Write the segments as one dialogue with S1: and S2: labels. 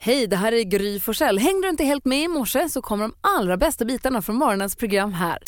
S1: Hej, det här är Gry Forssell. Hängde du inte helt med i morse så kommer de allra bästa bitarna från morgonens program här.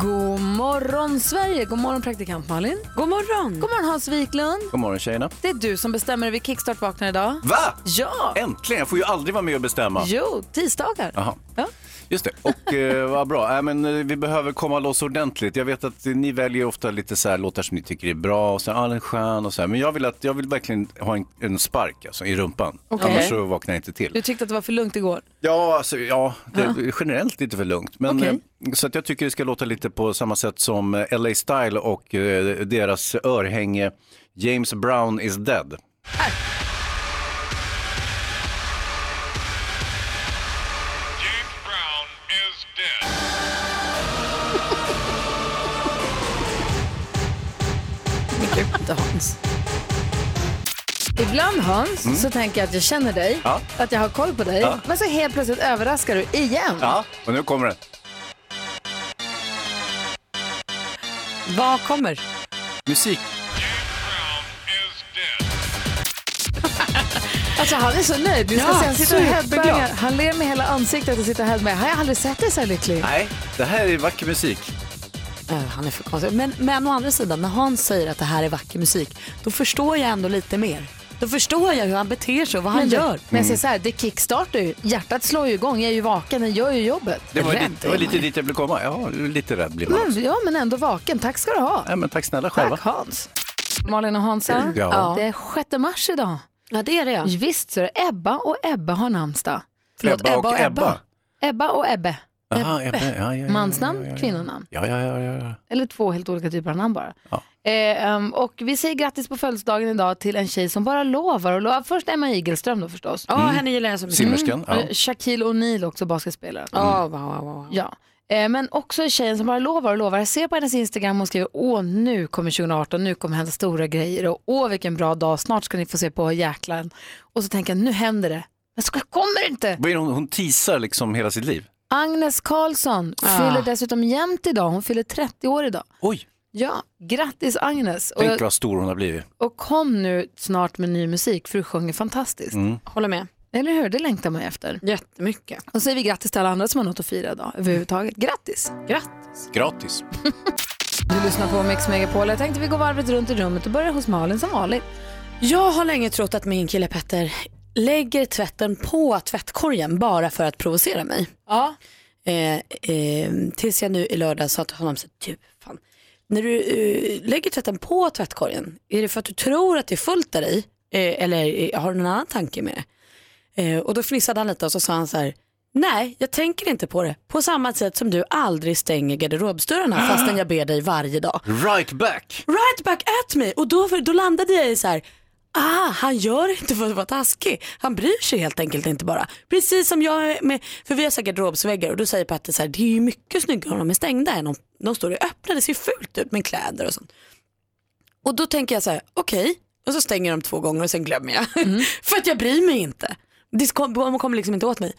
S1: God morgon Sverige, god morgon praktikant Malin.
S2: God morgon.
S1: God morgon Hans Wiklund.
S3: God morgon tjejerna.
S1: Det är du som bestämmer över Kickstart vaknar idag.
S3: Va?
S1: Ja!
S3: Äntligen! Jag får ju aldrig vara med och bestämma.
S1: Jo, tisdagar.
S3: Jaha.
S1: Ja.
S3: Just det. Och eh, vad bra. Äh, men, eh, vi behöver komma loss ordentligt. Jag vet att eh, ni väljer ofta lite så här låtar som ni tycker är bra och sen, ah, den är skön och så här. Men jag vill, att, jag vill verkligen ha en, en spark alltså, i rumpan.
S1: Okej.
S3: Annars så vaknar jag inte till.
S1: Du tyckte att det var för lugnt igår.
S3: Ja, alltså, ja det, är generellt lite för lugnt. Men,
S1: Okej.
S3: eh, Så att jag tycker det ska låta lite på samma sätt som eh, LA Style och eh, deras örhänge James Brown is dead.
S4: James Brown is dead.
S1: Gud Hans. Ibland Hans, så tänker jag att jag känner dig,
S3: Ja.
S1: att jag har koll på dig.
S3: Ja.
S1: Men så helt plötsligt överraskar du igen.
S3: Ja, och nu kommer den.
S2: Vad kommer?
S3: Musik.
S4: James Brown is dead.
S1: Alltså han är så nöjd. Du ska
S2: Ja,
S1: se, han sitter och
S2: superglad.
S1: headbangar. Han ler med hela ansiktet och sitter och headbangar. Har jag aldrig sett dig så här lycklig?
S3: Nej, det här är vacker musik.
S2: Eh, han är för konstig. Men, men å andra sidan, när Hans säger att det här är vacker musik, då förstår jag ändå lite mer. Då förstår jag hur han beter sig och vad han
S1: du-
S2: gör.
S1: men jag säger så här, det kickstartar ju. Hjärtat slår ju igång, jag är ju vaken, den gör ju jobbet.
S3: Det var,
S1: Rädd
S3: lite, det var
S1: är
S3: lite dit jag ville komma. Ja, lite rädd blir man
S1: man.
S3: också.
S1: Men, Mm, ja, men ändå vaken. Tack ska du ha.
S3: Ja, men tack snälla själva.
S1: Tack Hans. Malin och Hansa,
S3: Ja.
S1: det är 6 mars idag.
S2: Ja, det är det ja.
S1: Visst så är det Ebba och Ebba har namnsdag.
S2: Förlåt,
S3: Ebba och Ebba.
S1: Ebba och Ebbe.
S3: Aha, Ebbe. Ja, ja, ja, ja,
S1: Mansnamn,
S3: ja, ja, ja.
S1: kvinnonamn.
S3: Ja, ja, ja, ja. ja.
S1: Eller två helt olika typer av namn bara.
S3: Ja.
S1: Eh, ehm, och vi säger grattis på födelsedagen idag till en tjej som bara lovar och lovar. Först Emma Igelström då förstås.
S2: Ja, henne gillar jag så mycket.
S3: Simmerskan. Mm. Ja.
S1: Eh, Shaquille O'Neal också, basketspelaren.
S3: Mm.
S2: Ja, wow, wow, wow.
S1: Ja. Eh, Men också tjejen som bara lovar och lovar. Jag ser på hennes Instagram och skriver åh nu kommer 2018, nu kommer hända stora grejer och åh vilken bra dag, snart ska ni få se på jäklar. Och så tänker jag nu händer det, men så kommer det inte.
S3: Vad är det hon, hon teasar liksom hela sitt liv.
S1: Agnes Karlsson
S2: Ah.
S1: fyller dessutom jämnt idag, hon fyller 30 år idag.
S3: Oj,
S1: Ja, grattis Agnes och,
S3: tänk vad stor hon har blivit.
S1: och kom nu snart med ny musik för du sjunger fantastiskt.
S3: Mm.
S2: Håller med.
S1: Eller hur, det längtar man ju efter.
S2: Jättemycket.
S1: Och så säger vi grattis till alla andra som har något att fira idag överhuvudtaget. Grattis!
S2: Grattis.
S3: Gratis.
S1: Du lyssnar på Mix Megapol. Jag tänkte vi går varvet runt i rummet och börjar hos Malin som vanligt.
S2: Jag har länge trott att min kille Petter lägger tvätten på tvättkorgen bara för att provocera mig.
S1: Ja.
S2: Eh, eh, tills jag nu i lördag sa till honom, så, här, du, fan, när du eh, lägger tvätten på tvättkorgen, är det för att du tror att det är fullt där i? Eh, eller eh, har du någon annan tanke med det? Eh, och då fnissade han lite och så sa han så här, nej jag tänker inte på det. På samma sätt som du aldrig stänger garderobsdörrarna fastän jag ber dig varje dag.
S3: Right back.
S2: Right back at me! Och då, då landade jag i så här, ah, han gör inte för att vara taskig. Han bryr sig helt enkelt inte bara. Precis som jag är med, för vi har så här garderobsväggar och då säger Petter så här, det är ju mycket snyggare om de är stängda än om de står och öppnar. Det ser fult ut med kläder och sånt. Och då tänker jag så här, okej, och så stänger jag dem två gånger och sen glömmer jag. för att jag bryr mig inte. Det kom- De kommer liksom inte åt mig.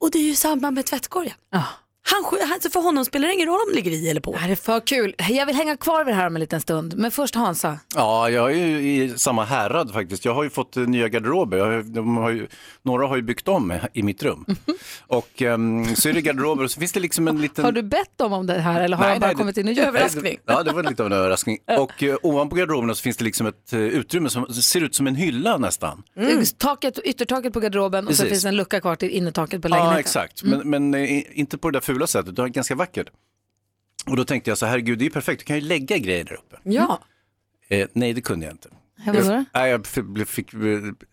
S2: Och det är ju samma med tvättkorgen.
S1: Ja.
S2: Han, sk- han- så för honom spelar det ingen roll om det ligger i eller på.
S1: Det här är för kul. Jag vill hänga kvar vid det här om en liten stund. Men först Hansa.
S3: Ja, jag är ju i samma härad faktiskt. Jag har ju fått eh, nya garderober. Jag har, de har ju, några har ju byggt om i mitt rum.
S1: Mhm.
S3: Och ehm, så är det garderober och så finns det liksom en liten...
S1: Har du bett dem om det här eller har han bara
S3: det-
S1: kommit in och
S3: Nej,
S1: gjort
S3: det-
S1: det?
S3: Ja, det var lite av en överraskning. Och eh, ovanpå garderoberna så finns det liksom ett eh, utrymme som ser ut som en hylla nästan.
S1: Mm. Taket, yttertaket på garderoben och så
S3: Precis.
S1: finns det en lucka kvar till innertaket på lägenheten. Mm.
S3: Ja, exakt. Men, men eh, inte på det där fula sättet, utan ganska vackert. Och då tänkte jag så här, herregud, det är ju perfekt, du kan ju lägga grejer där uppe.
S2: Ja.
S3: Eh, nej, det kunde jag inte.
S1: Här, vad sa du?
S3: Nej, jag f- blev- fick... eh, eh,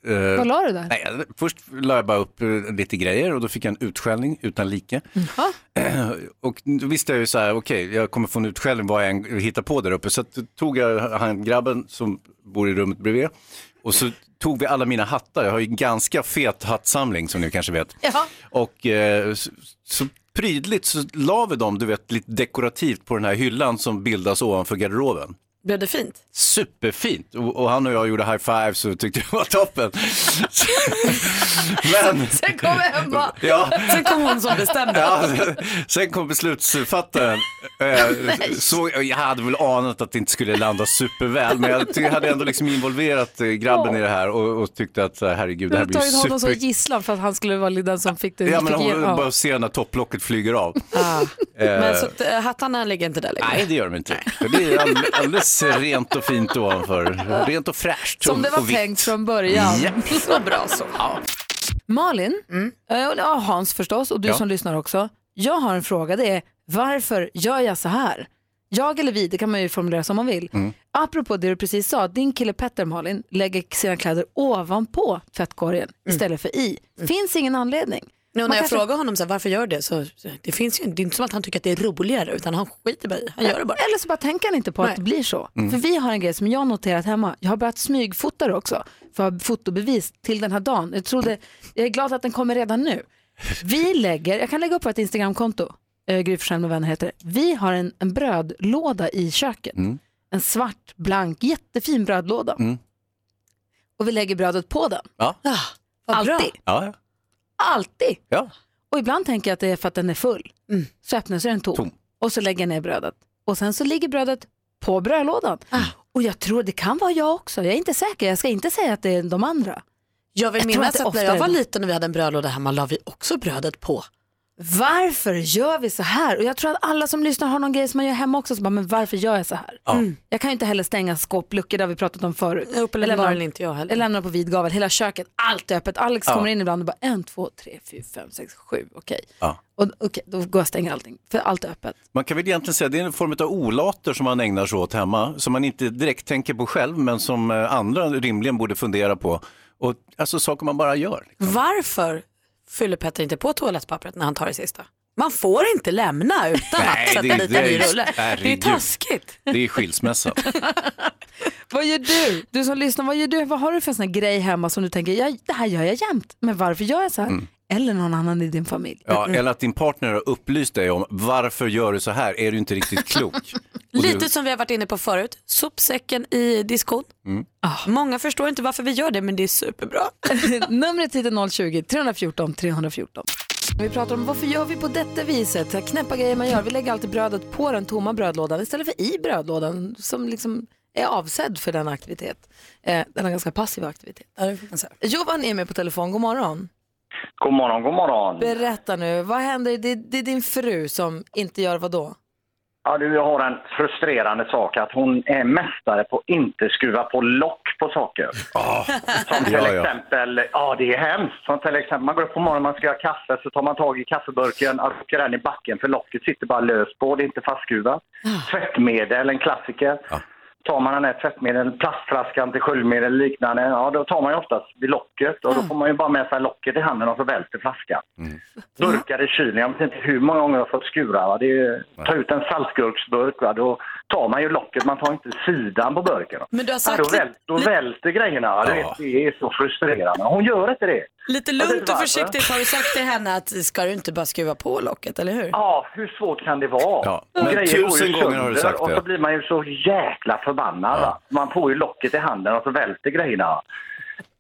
S1: Mm. Vad la du där?
S3: Nej, jag- först la jag bara upp eh, lite grejer och då fick jag en utskällning utan like. Och då visste jag ju så här, okej, jag kommer få en utskällning vad jag än hittar på där uppe. Så att, då tog jag han grabben som bor i rummet bredvid och så tog vi alla mina hattar. Jag har ju en ganska fet hattsamling som ni kanske vet.
S1: Ja.
S3: Och eh, så, så prydligt så la vi dem, du vet, lite dekorativt på den här hyllan som bildas ovanför garderoben.
S2: Blev det fint?
S3: Superfint och, och han och jag gjorde high fives och tyckte det var toppen. Men,
S1: Sen kom Emma.
S3: ja,
S2: Sen kom hon som bestämde.
S3: ja, sen kom beslutsfattaren. Eh, så, jag hade väl anat att det inte skulle landa superväl men jag ty- hade ändå liksom involverat eh, grabben i det här och, och tyckte att så här, herregud
S1: Du
S3: det här
S1: har
S3: blir
S1: tagit honom som
S3: super...
S1: gisslan för att han skulle vara den som fick det.
S3: Ja men
S1: fick
S3: hon
S1: igenom.
S3: bara ser när topplocket flyger av.
S1: Ah.
S2: Men så att, eh, hattarna ligger inte där längre.
S3: Nej, det gör de inte. För det är all- alldeles rent och fint ovanför. Rent och fräscht.
S1: Som
S3: och-
S1: det var
S3: och vitt.
S1: tänkt från början.
S3: Ja.
S1: Så bra så. Malin, eh, och ja, Hans förstås och du
S3: Ja.
S1: som lyssnar också. Jag har en fråga, det är varför gör jag så här? Jag eller vi, det kan man ju formulera som man vill.
S3: Mm.
S1: Apropå det du precis sa, din kille Petter Malin lägger sina kläder ovanpå tvättkorgen istället för i. Finns ingen anledning.
S2: Mm. Nu
S1: Man
S2: när jag
S1: kanske-
S2: frågar honom så här, varför gör du det så så- det finns ju det är inte som att han tycker att det är roligare utan han skiter bara i Han gör det bara.
S1: Eller så bara tänker han inte på att
S2: Nej. Mm.
S1: det blir så. För vi har en grej som jag har noterat hemma. Jag har börjat smygfota det också för att ha fotobevis till den här dagen. Jag, trodde, jag är glad att den kommer redan nu. Vi lägger, jag kan lägga upp vårt Instagramkonto, eh, Gry Forssell med vänner heter det. Vi har en, en brödlåda i köket.
S2: Mm.
S1: En svart, blank, jättefin brödlåda. Och vi lägger brödet på den.
S3: Ja, ja.
S2: Ah, vad bra.
S1: Alltid.
S3: ja.
S1: Alltid.
S3: ja.
S1: Och ibland tänker jag att det är för att den är full.
S2: Mm.
S1: Så öppnas den tom.
S3: Tom.
S1: Och så lägger jag ner brödet. Och sen så ligger brödet på brödlådan.
S2: Ah.
S1: Och jag tror det kan vara jag också. Jag är inte säker. Jag ska inte säga att det är de andra.
S2: Jag vill
S1: Jag tror att
S2: minnas
S1: det
S2: att, när jag
S1: oftare-
S2: var liten och vi hade en brödlåda hemma la vi också brödet på.
S1: Varför gör vi så här? Och jag tror att alla som lyssnar har någon grej som man gör hemma också. Så bara, men varför gör jag så här? Mm. Jag kan ju inte heller stänga skåpluckor där vi pratat om förut.
S2: Uppenbarligen inte jag heller.
S1: Jag lämnar på vid gavel, hela köket, allt är öppet. Alex kommer in ibland och bara en, två, tre, fyra, fem, sex, sju, okej.
S3: Ja.
S1: Och Okej, då går jag och stänger allting, för allt är öppet.
S3: Man kan väl egentligen säga att det är en form av olater som man ägnar sig åt hemma, som man inte direkt tänker på själv, men som eh, andra rimligen borde fundera på. Och, alltså saker man bara gör.
S2: Varför fyller Petter inte på toalettpappret när han tar det sista? Man får inte lämna utan
S3: Nej,
S2: att sätta
S3: det är-
S2: dit
S3: det
S2: en
S3: är
S2: ny
S3: ju-
S2: rulle. Det är
S3: herregud.
S2: taskigt.
S3: Det är skilsmässa.
S1: Vad gör du? Du som lyssnar, vad gör du? Vad har du för sån här grej hemma som du tänker, ja, det här gör jag jämt, men varför gör jag så här? Eller någon annan i din familj.
S3: Ja, eller att din partner har upplyst dig om varför gör du så här? Är du inte riktigt klok? Och du-
S2: Lite som vi har varit inne på förut, sopsäcken i diskon.
S3: Mm.
S2: Ah. Många förstår inte varför vi gör det men det är superbra.
S1: Numret hit är 020-314 314. Vi pratar om varför gör vi på detta viset? Så här Knäppa grejer man gör. Vi lägger alltid brödet på den tomma brödlådan istället för i brödlådan som liksom är avsedd för den aktivitet. Eh, denna ganska passiva aktivitet. Johan är med på telefon. God morgon.
S5: God morgon, god morgon.
S1: Berätta nu, vad händer? Det, det är din fru som inte gör vad då?
S5: Ja, du, jag har en frustrerande sak att hon är mästare på att inte skruva på lock på saker. Som till
S3: Ja, ja.
S5: exempel, ja det är hemskt. Som till exempel, man går upp på morgonen, man ska göra kaffe, så tar man tag i kaffeburken, och rycker den i backen för locket sitter bara löst på, det är inte fastskruvat. Tvättmedel, en klassiker. Tar man den här tvättmedel, plastflaskan till sköljmedel eller liknande, ja då tar man ju oftast vid locket och då får man ju bara med sig locket i handen och så välter flaskan.
S6: Mhm.
S5: burkar i kylen. Jag vet inte hur många gånger jag har fått skura. Va? Det är ju, ta ut en saltgurksburk, va? då tar man ju locket, man tar inte sidan på burken. Va?
S2: Men du har
S5: Ja,
S2: sagt
S5: då, väl, då
S2: lite,
S5: välter grejerna. Va? Du
S3: Ja.
S5: vet, det är så frustrerande. Hon gör inte det.
S2: lite
S5: Jag vet
S2: lugnt
S5: inte
S2: och
S5: varför.
S2: försiktigt har du sagt till henne att ska du inte bara skruva på locket, eller hur?
S5: Ja, hur svårt kan det vara?
S3: Ja,
S5: Och
S3: men
S5: grejer går ju
S3: tusen gånger har du sagt
S5: Och
S3: det.
S5: så blir man ju så jäkla förbannad. Va? Man får ju locket i handen och så välter grejerna.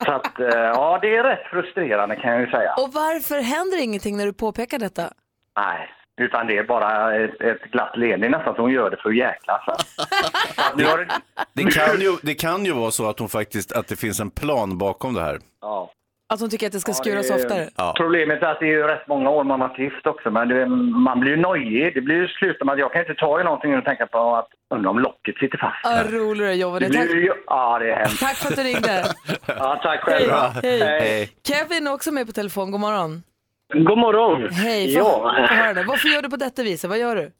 S5: Så att, eh, ja, det är rätt frustrerande kan jag ju säga.
S1: Och varför händer ingenting när du påpekar detta?
S5: Nej, utan det är bara ett, ett glatt leende nästan, så hon gör det för att jäklas. va? Så att nu har det-
S3: Det, kan ju, det kan ju vara så att, hon faktiskt, att det finns en plan bakom det här.
S5: Ja.
S1: Att hon tycker att det ska
S5: Ja,
S1: skuras
S5: det är-
S1: oftare?
S3: Ja.
S5: Problemet är att det är ju rätt många år man har varit gift också, men det, man blir ju nojig. Det blir ju slut med att jag kan inte ta i någonting och tänka på att undra om locket sitter fast.
S1: Vad rolig du är Johan.
S5: Det
S1: Tack,
S5: blir ju, ja, det är hemskt.
S1: tack för att du ringde.
S5: Ja, tack själv.
S1: Hej.
S3: Hej.
S1: Kevin är också med på telefon, god morgon.
S7: God morgon!
S1: Hej, får
S7: Mm. ja,
S1: jag höra det? varför gör du på detta viset? Vad gör du?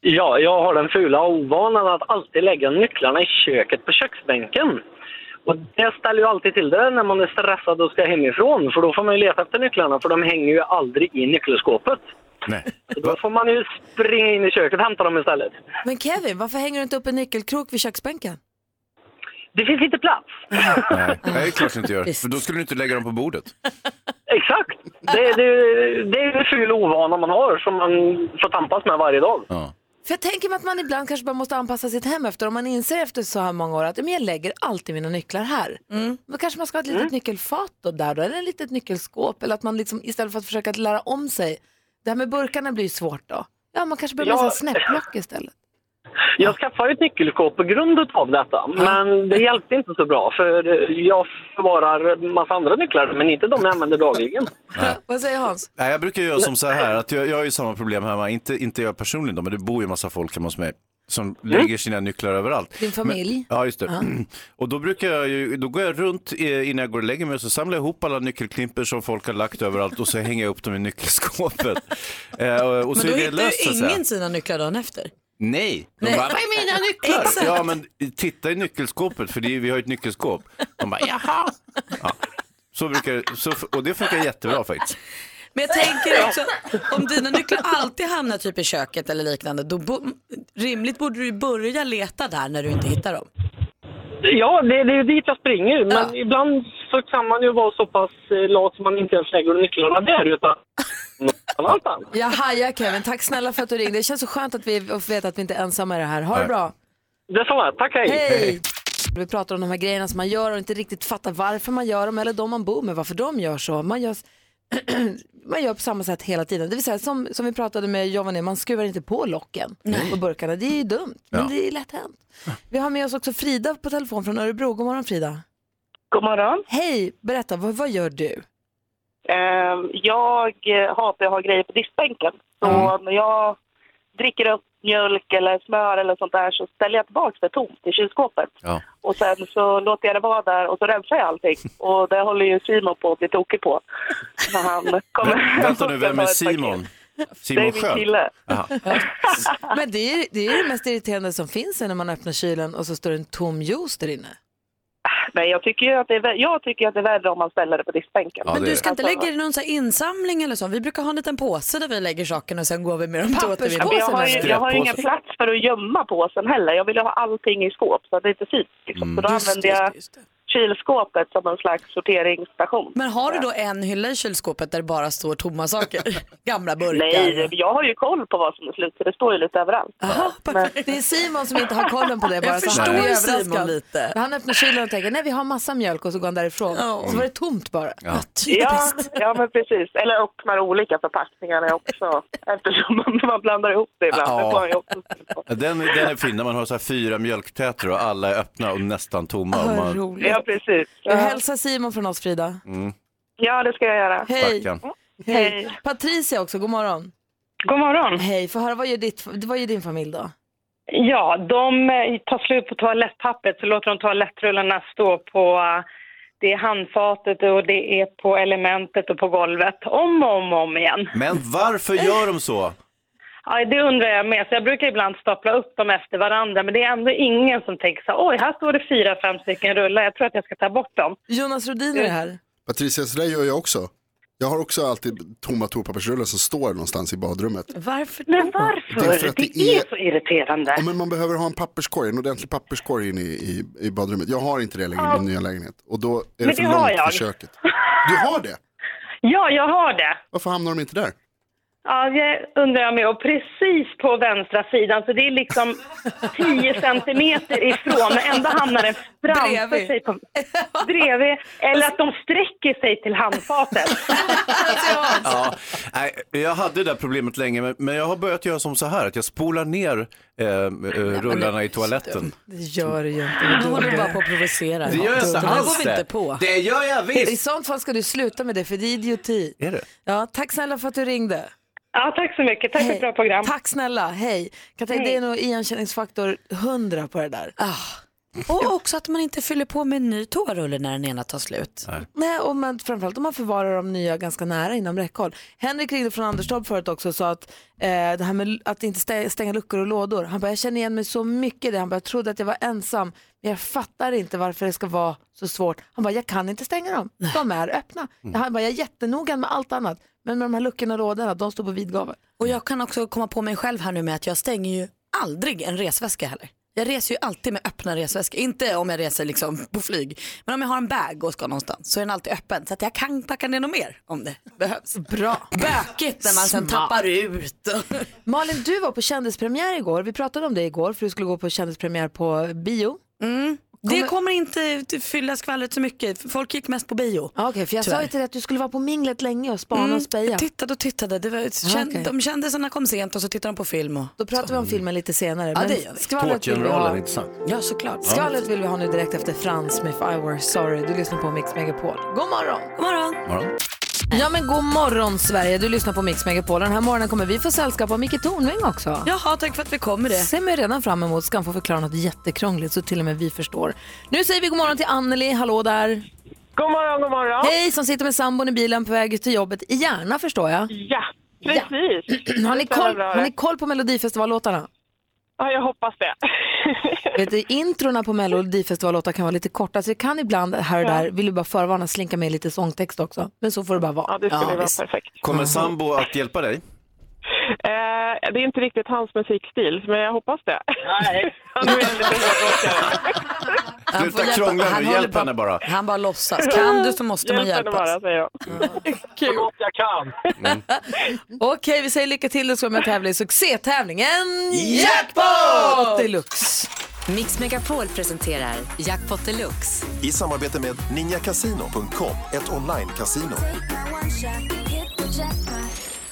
S7: ja, jag har den fula ovanan att alltid lägga nycklarna i köket på köksbänken. Och det ställer ju alltid till det när man är stressad och ska hemifrån. För då får man ju leta efter nycklarna för de hänger ju aldrig i nyckelskåpet.
S3: Nej.
S7: Så Då får man ju springa in i köket och hämta dem istället.
S1: Men Kevin, varför hänger du inte upp en nyckelkrok vid köksbänken?
S7: Det finns inte plats.
S3: Nej, det är klart du inte gör. För då skulle du inte lägga dem på bordet.
S7: Exakt! Det, det, det är en ful ovana man har som man får tampas med varje dag.
S3: Ja.
S1: För jag tänker mig att man ibland kanske bara måste anpassa sitt hem efter. Om man inser efter så här många år att "Men jag lägger alltid mina nycklar här.
S7: Mm.
S1: Då kanske man ska ha ett litet nyckelfat då, där då, eller ett litet nyckelskåp. Eller att man liksom, istället för att försöka att lära om sig. Det här med burkarna blir ju svårt då. Ja, man kanske behöver
S8: Ja.
S1: ja. snäpplock istället.
S8: Jag skaffade ju ett nyckelskåp på grund av detta, men det hjälpte inte så bra för jag förvarar massa andra nycklar, men inte de jag använder dagligen.
S1: Vad säger Hans?
S3: Nej, jag brukar göra som så här, att jag, jag har ju samma problem hemma, inte, inte jag personligen då, men det bor ju massa folk hemma hos mig som lägger sina nycklar överallt.
S1: Din familj?
S3: Men, ja, just det. Och då brukar jag ju, då går jag runt eh, innan jag går och lägger mig och så samlar jag ihop alla nyckelklimpor som folk har lagt överallt och så hänger jag upp dem i nyckelskåpet. eh, och, och så
S2: Men
S3: är
S2: då
S3: det
S2: hittar
S3: löst, så
S2: ju
S3: att säga.
S2: ingen sina nycklar dagen efter.
S3: Nej, de bara, vad är mina nycklar? Ja, men titta i nyckelskåpet, för det är, vi har ju ett nyckelskåp. De bara, jaha. Ja. Så brukar, så, och det funkar jättebra faktiskt.
S2: Men jag tänker också att om dina nycklar alltid hamnar typ i köket eller liknande, då bo- rimligt borde du ju börja leta där när du inte hittar dem.
S8: Ja, det, det är ju dit jag springer, men
S2: Ja.
S8: ibland så kan man ju vara så pass eh, lat som man inte ens lägger nycklarna där utan någon annanstans.
S1: Jag hajar Kevin. Tack snälla för att du ringde. Det känns så skönt att vi vet att vi inte är ensamma i det här. Ha det
S3: Nej.
S1: bra.
S8: Detsamma, tack hej!
S1: Hej! Vi pratar om de här grejerna som man gör och inte riktigt fattar varför man gör dem eller de man bor med, varför de gör så. Man gör, man gör på samma sätt hela tiden. Det vill säga som, som vi pratade med Giovanni, man skruvar inte på locken på burkarna. Det är ju dumt, men
S3: Ja.
S1: det är lätt hänt. Vi har med oss också Frida på telefon från Örebro. God morgon Frida.
S9: God morgon.
S1: Hej, berätta, vad, vad gör du?
S9: Eh, Jag eh, hatar att ha grejer på diskbänken. Så
S8: Mm.
S9: när jag dricker upp mjölk eller smör eller sånt där så ställer jag tillbaka det tomt i kylskåpet.
S3: Ja.
S9: Och sen så låter jag det vara där och så rensar jag allting. Och det håller ju Simon på att bli tokig på. När han kommer hem
S3: Vänta nu,
S9: och
S3: vem är
S9: tar ett paket.
S3: Simon?
S9: Det är
S3: Simon
S9: min
S3: Sköld?
S9: kille.
S3: Aha.
S1: Men det är, det är det mest irriterande som finns när man öppnar kylen och så står det en tom juice där inne.
S9: Nej, jag tycker ju att det är, vä- jag tycker att det är värre om man ställer det på diskbänken.
S3: Ja,
S2: Men
S7: eh,
S3: det
S2: du
S3: är
S2: ska inte
S9: Alltså-
S2: lägga det i någon så här insamling eller så? Vi brukar ha en liten påse där vi lägger sakerna och sen går vi med dem till
S1: Papperspåse.
S9: Men
S2: återvinning.
S9: jag har, ju, jag har ju ingen
S3: Skräppåse.
S9: plats för att gömma påsen heller. Jag vill ju ha allting i skåp så att det inte syns. Liksom.
S3: Mm.
S9: Så då använder jag kylskåpet som en slags sorteringsstation.
S2: Men har du då en hylla i kylskåpet där det bara står tomma saker? Gamla burkar?
S9: Nej, jag har ju koll på vad som är slut så det står ju lite överallt.
S2: Aha, perfekt.
S1: Det är Simon som inte har kollen på det bara.
S2: Jag
S1: så han
S2: förstår
S1: blir
S2: ju
S1: överraskad.
S2: Simon lite.
S1: Han öppnar kylen och tänker, nej vi har massa mjölk och så går han därifrån.
S2: Ja.
S1: Så var det tomt bara.
S2: Ja,
S9: Ja,
S2: typiskt.
S9: ja, men precis. Eller öppnar olika förpackningar är också eftersom man, man blandar ihop det ibland.
S3: Ja.
S9: Det får man ju också se på.
S3: Den, den är fin när man har så här fyra mjölktäter och alla är öppna och nästan tomma. Och
S1: Vad
S3: man Mm.
S1: roligt.
S9: Ja, precis.
S1: Du
S9: Ja.
S1: hälsar Simon från oss Frida.
S9: ja, det ska jag göra.
S1: Hej.
S3: backar.
S1: Hej. Patricia också, god morgon.
S7: God morgon.
S1: Hej, få höra vad gör, ditt, vad gör din familj då?
S7: Ja, de eh, tar slut på toalettpappret så låter de toalettrullarna stå på eh, det är handfatet och det är på elementet och på golvet om och om, och om igen.
S3: Men varför gör de så?
S7: Ja, det undrar jag med. Så jag brukar ibland stapla upp dem efter varandra men det är ändå ingen som tänker så här, oj här står det fyra, fem stycken rullar, jag tror att jag ska ta bort dem.
S1: Jonas Rodiner är här.
S10: Patricia, så där gör jag också. Jag har också alltid tomma toapappersrullar som står någonstans i badrummet.
S2: Varför
S7: Men
S2: då?
S7: varför?
S10: Det är
S7: Det
S10: för
S7: är,
S10: att det är-
S7: så irriterande.
S10: Ja, men man behöver ha en papperskorg, en ordentlig papperskorg in i, i, i badrummet. Jag har inte det längre i min nya lägenhet. Och då är det
S7: Men
S10: för
S7: det har
S10: långt för
S7: jag.
S10: köket. Du har det?
S7: Ja, jag har det.
S10: Varför hamnar de inte där?
S7: Ja, det undrar jag med. Och precis på vänstra sidan, så det är liksom 10 centimeter ifrån, men ändå hamnar den framför
S1: Bredvid.
S7: sig. På, bredvid. Eller att de sträcker sig till handfatet.
S3: Ja, nej, jag hade det där problemet länge, men, men jag har börjat göra som så här, att jag spolar ner eh, eh, rullarna i toaletten.
S1: Det gör du ju inte.
S2: Du håller bara på att provocera.
S3: Det gör jag inte
S2: det. här går
S3: alls
S2: vi inte på.
S3: Det gör jag
S1: I
S3: visst.
S1: sånt fall ska du sluta med det, för det är idioti.
S3: Är det?
S1: Ja, tack snälla för att du ringde.
S7: Ja, tack så mycket. Tack för ett bra program.
S1: Tack snälla, hej. Kan tänka, det är nog igenkänningsfaktor 100 på det där.
S2: Och också att man inte fyller på med en ny toarulle när den ena tar slut.
S1: Nej, och man, framförallt om man förvarar de nya ganska nära inom räckhåll. Henrik ringde från Anderstorp förut också och sa att eh, det här med att inte stä- stänga luckor och lådor. Han bara, jag känner igen mig så mycket i det. Han bara, jag trodde att jag var ensam, men jag fattar inte varför det ska vara så svårt. Han bara, jag kan inte stänga dem. De är öppna. Han bara, jag är jättenoga med allt annat, men med de här luckorna och lådorna, de står på vid gavel.
S2: Och jag kan också komma på mig själv här nu med att jag stänger ju aldrig en resväska heller. Jag reser ju alltid med öppna resväskor. Inte om jag reser liksom på flyg. Men om jag har en bag och ska någonstans så är den alltid öppen. Så att jag kan packa ner något mer om det behövs.
S1: Bra.
S2: Bökigt när man sen
S1: Smart.
S2: tappar ut.
S1: Malin, du var på kändispremiär igår. Vi pratade om det igår för du skulle gå på kändispremiär på bio.
S2: Det kommer inte fylla skvallret så mycket. Folk gick mest på bio.
S1: Ja, Okej, för jag sa
S2: Tyvärr.
S1: ju till dig att du skulle vara på minglet länge och spana Mm, och speja.
S2: Jag tittade och tittade. Det var, känd,
S1: okej.
S2: De kändisarna kom sent och så tittade de på film. Och,
S1: Då pratar vi om filmen lite senare.
S2: Ja, det gör vi.
S1: skvallret vill vi
S3: Tårtgeneralen,
S1: ha.
S3: inte sant?
S2: ja, såklart.
S1: Skvallret vill vi ha nu direkt efter Frans med If I Were Sorry. Du lyssnar på Mix Megapol. God morgon!
S2: God morgon.
S3: Morgon.
S1: Ja men god morgon Sverige, du lyssnar på Mix Megapol. Den här morgonen kommer vi få sällskap av Micke Tornving också.
S2: Jaha, tack för att vi kom med det.
S1: Ser mig redan fram emot, ska han få förklara något jättekrångligt så till och med vi förstår. Nu säger vi god morgon till Anneli, hallå där.
S8: God morgon, god morgon.
S1: Hej, som sitter med sambon i bilen på väg ut till jobbet i Järna förstår jag.
S7: Ja, precis.
S1: Har ni
S7: Det stämmer
S1: koll,
S7: bra
S1: har
S7: det.
S1: ni koll på Melodifestivallåtarna?
S7: Ja, jag hoppas det.
S1: Vet du, introna på Melodifestivallåtar kan vara lite korta så det kan ibland här och där, vill du bara förvarna, slinka med lite sångtext också. Men så får det bara vara.
S7: Ja, det skulle
S2: Ja,
S7: vara
S2: visst.
S7: perfekt.
S3: Kommer sambo att hjälpa dig?
S7: Eh, det är inte riktigt hans musikstil, men jag hoppas det. Nej. Han är väldigt hårdrockare.
S2: Han
S3: Sluta
S2: får hjälpa-
S3: krångla nu,
S2: han håller
S3: hjälp henne bara.
S2: Han bara låtsas. Kan du så måste man
S7: Hjälp henne
S2: hjälpas. Mm.
S7: bara, säger jag.
S1: Kul.
S8: Jag kan.
S1: Okej, vi säger lycka till. Du ska vara med och tävla i succétävlingen Jackpot Deluxe.
S11: Mix Megapol presenterar Jackpot Deluxe.
S12: I samarbete med ninjakasino.com, ett online-casino.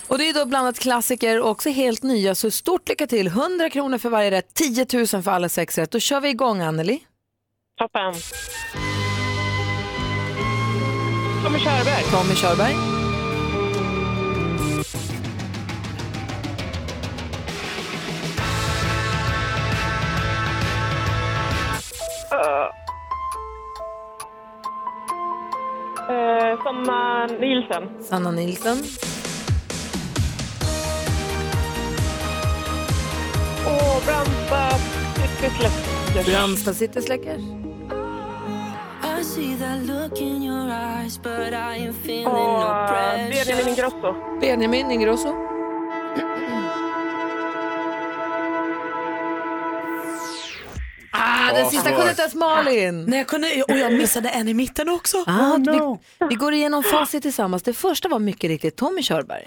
S1: Och det är då blandat klassiker och också helt nya. Så stort lycka till. 100 kronor för varje rätt, 10 000 för alla sex rätt. Då kör vi igång, Anneli.
S7: Toppen. Tommy Körberg.
S1: Tommy Körberg.
S7: Eh, Sanna Nielsen.
S1: Sanna Nilsson.
S7: Och Branta Pyttelefter.
S1: Ramstad City Släckers.
S7: Och eh, Benjamin Ingrosso.
S1: Benjamin Ingrosso. Ah, den sista kunde inte ens Malin.
S2: Nej, jag kunde, och jag missade en i mitten också.
S1: Ah, vi, vi går igenom facit tillsammans. Det första var mycket riktigt Tommy Körberg.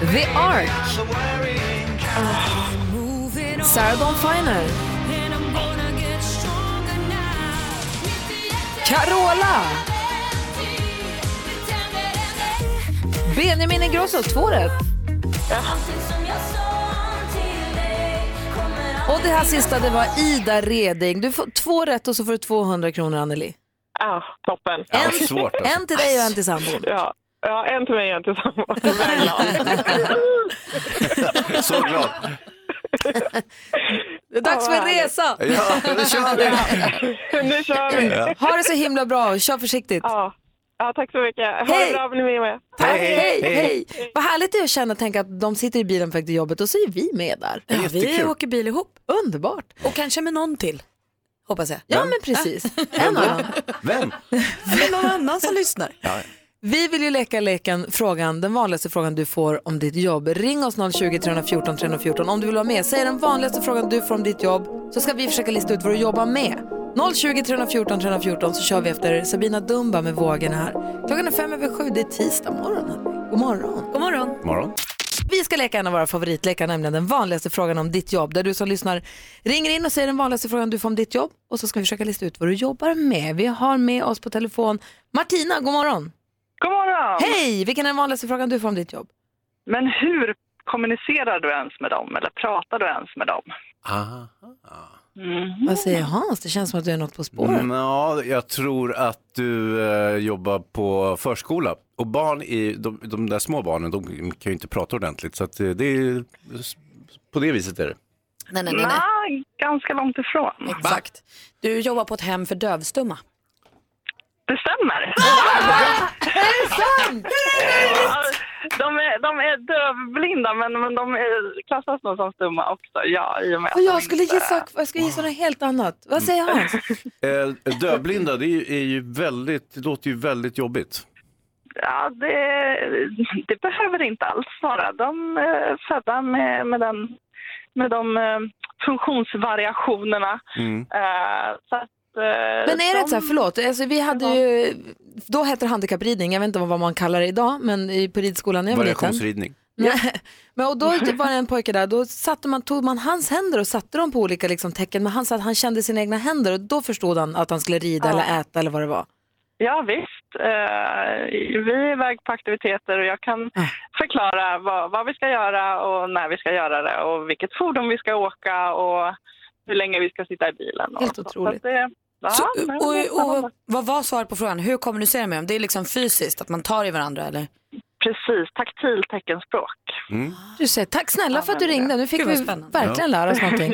S1: The Ark. Sarah Dawn Finer. Carola. Benjamin Ingrosso, två rätt. Och det här sista det var Ida Reding. Du får två rätt och så får du 200 kronor Anneli.
S7: Ja, Ah, toppen.
S3: Ja, vad svårt alltså.
S1: En till dig och en till sambon.
S7: Ja. Ja, en till mig och en till samma.
S3: Så glad.
S1: Det är dags för en resa.
S3: Ja, nu kör vi.
S7: nu kör vi.
S1: Ha det så himla bra. Kör försiktigt.
S7: Ja. ja, tack så mycket. Ha
S1: Hej.
S7: det bra, ni är med.
S1: Tack. Hej, hej. Vad härligt det är att känna och tänka att de sitter i bilen på väg till jobbet och så är vi med där.
S2: Ja, vi åker bil ihop.
S1: Underbart.
S2: Och kanske med någon till. Hoppas jag.
S1: Ja, men precis. En annan.
S3: Vem?
S2: Med någon annan som lyssnar.
S1: Vi vill ju leka leken frågan, den vanligaste frågan du får om ditt jobb. Ring oss 020 314 314 om du vill vara med. Säg den vanligaste frågan du får om ditt jobb så ska vi försöka lista ut vad du jobbar med. 020 314 314 så kör vi efter Sabina Dumba med vågen här. Klockan är fem över sju, det är tisdag morgon. hörni. God morgon.
S2: God morgon.
S3: Morgon.
S1: Vi ska leka en av våra favoritlekar, nämligen den vanligaste frågan om ditt jobb. Där du som lyssnar ringer in och säger den vanligaste frågan du får om ditt jobb. Och så ska vi försöka lista ut vad du jobbar med. Vi har med oss på telefon Martina, god morgon.
S7: God morgon!
S1: Hej, vilken är den vanligaste frågan du får om ditt jobb?
S9: Men hur kommunicerar du ens med dem eller pratar du ens med dem?
S3: Aha.
S1: Vad säger Hans? Det känns som att du är något på spåren.
S3: Mm, Ja, jag tror att du eh, jobbar på förskola. Och barn, i, de, de där små barnen, de kan ju inte prata ordentligt. Så att eh, det är, på det viset är det.
S2: Nej, nej, nej. nej.
S9: Nej, ganska långt ifrån.
S2: Exakt. Du jobbar på ett hem för dövstumma.
S9: Det stämmer. Ja, de, är, de är dövblinda, men, men de är, klassas nog som stumma också. Ja, i och
S7: Mm,
S9: med
S1: Och
S9: att de
S1: jag skulle
S9: inte-
S1: gissa, jag skulle gissa något helt annat. Vad säger Hans?
S3: Eh, dövblinda, det är ju, är ju väldigt, det låter ju väldigt jobbigt.
S9: ja, det, det behöver inte alls vara. De är födda med, med, den, med de eh, funktionsvariationerna. Eh, så att, eh,
S1: Men är det ett så här, förlåt, alltså, vi hade ju, då hette det handikappridning, jag vet inte vad man kallar det idag, men i- på ridskolan när jag var liten.
S3: Variationsridning.
S1: Nej, Men, och då var det en pojke där, då satte man, tog man hans händer och satte dem på olika liksom, tecken, men han sa att han kände sina egna händer och då förstod han att han skulle rida
S9: Ja.
S1: eller äta eller vad det var.
S9: Ja visst, Eh, vi är iväg på aktiviteter och jag kan förklara vad, vad vi ska göra och när vi ska göra det och vilket fordon vi ska åka och hur länge vi ska sitta i bilen. och
S2: Helt
S9: så. Så att
S2: otroligt.
S9: det- Ja,
S2: Så,
S9: men det är
S2: och,
S9: spännande.
S2: och, vad var svaret på frågan? Hur kommunicerar man? Det är liksom fysiskt, att man tar i varandra eller?
S9: Precis, taktil teckenspråk.
S1: Du säger tack snälla för att du
S9: Använder
S1: ringde,
S9: det.
S1: nu fick
S9: Gud,
S1: vi
S9: vad spännande.
S1: verkligen
S9: Ja.
S1: lära oss någonting.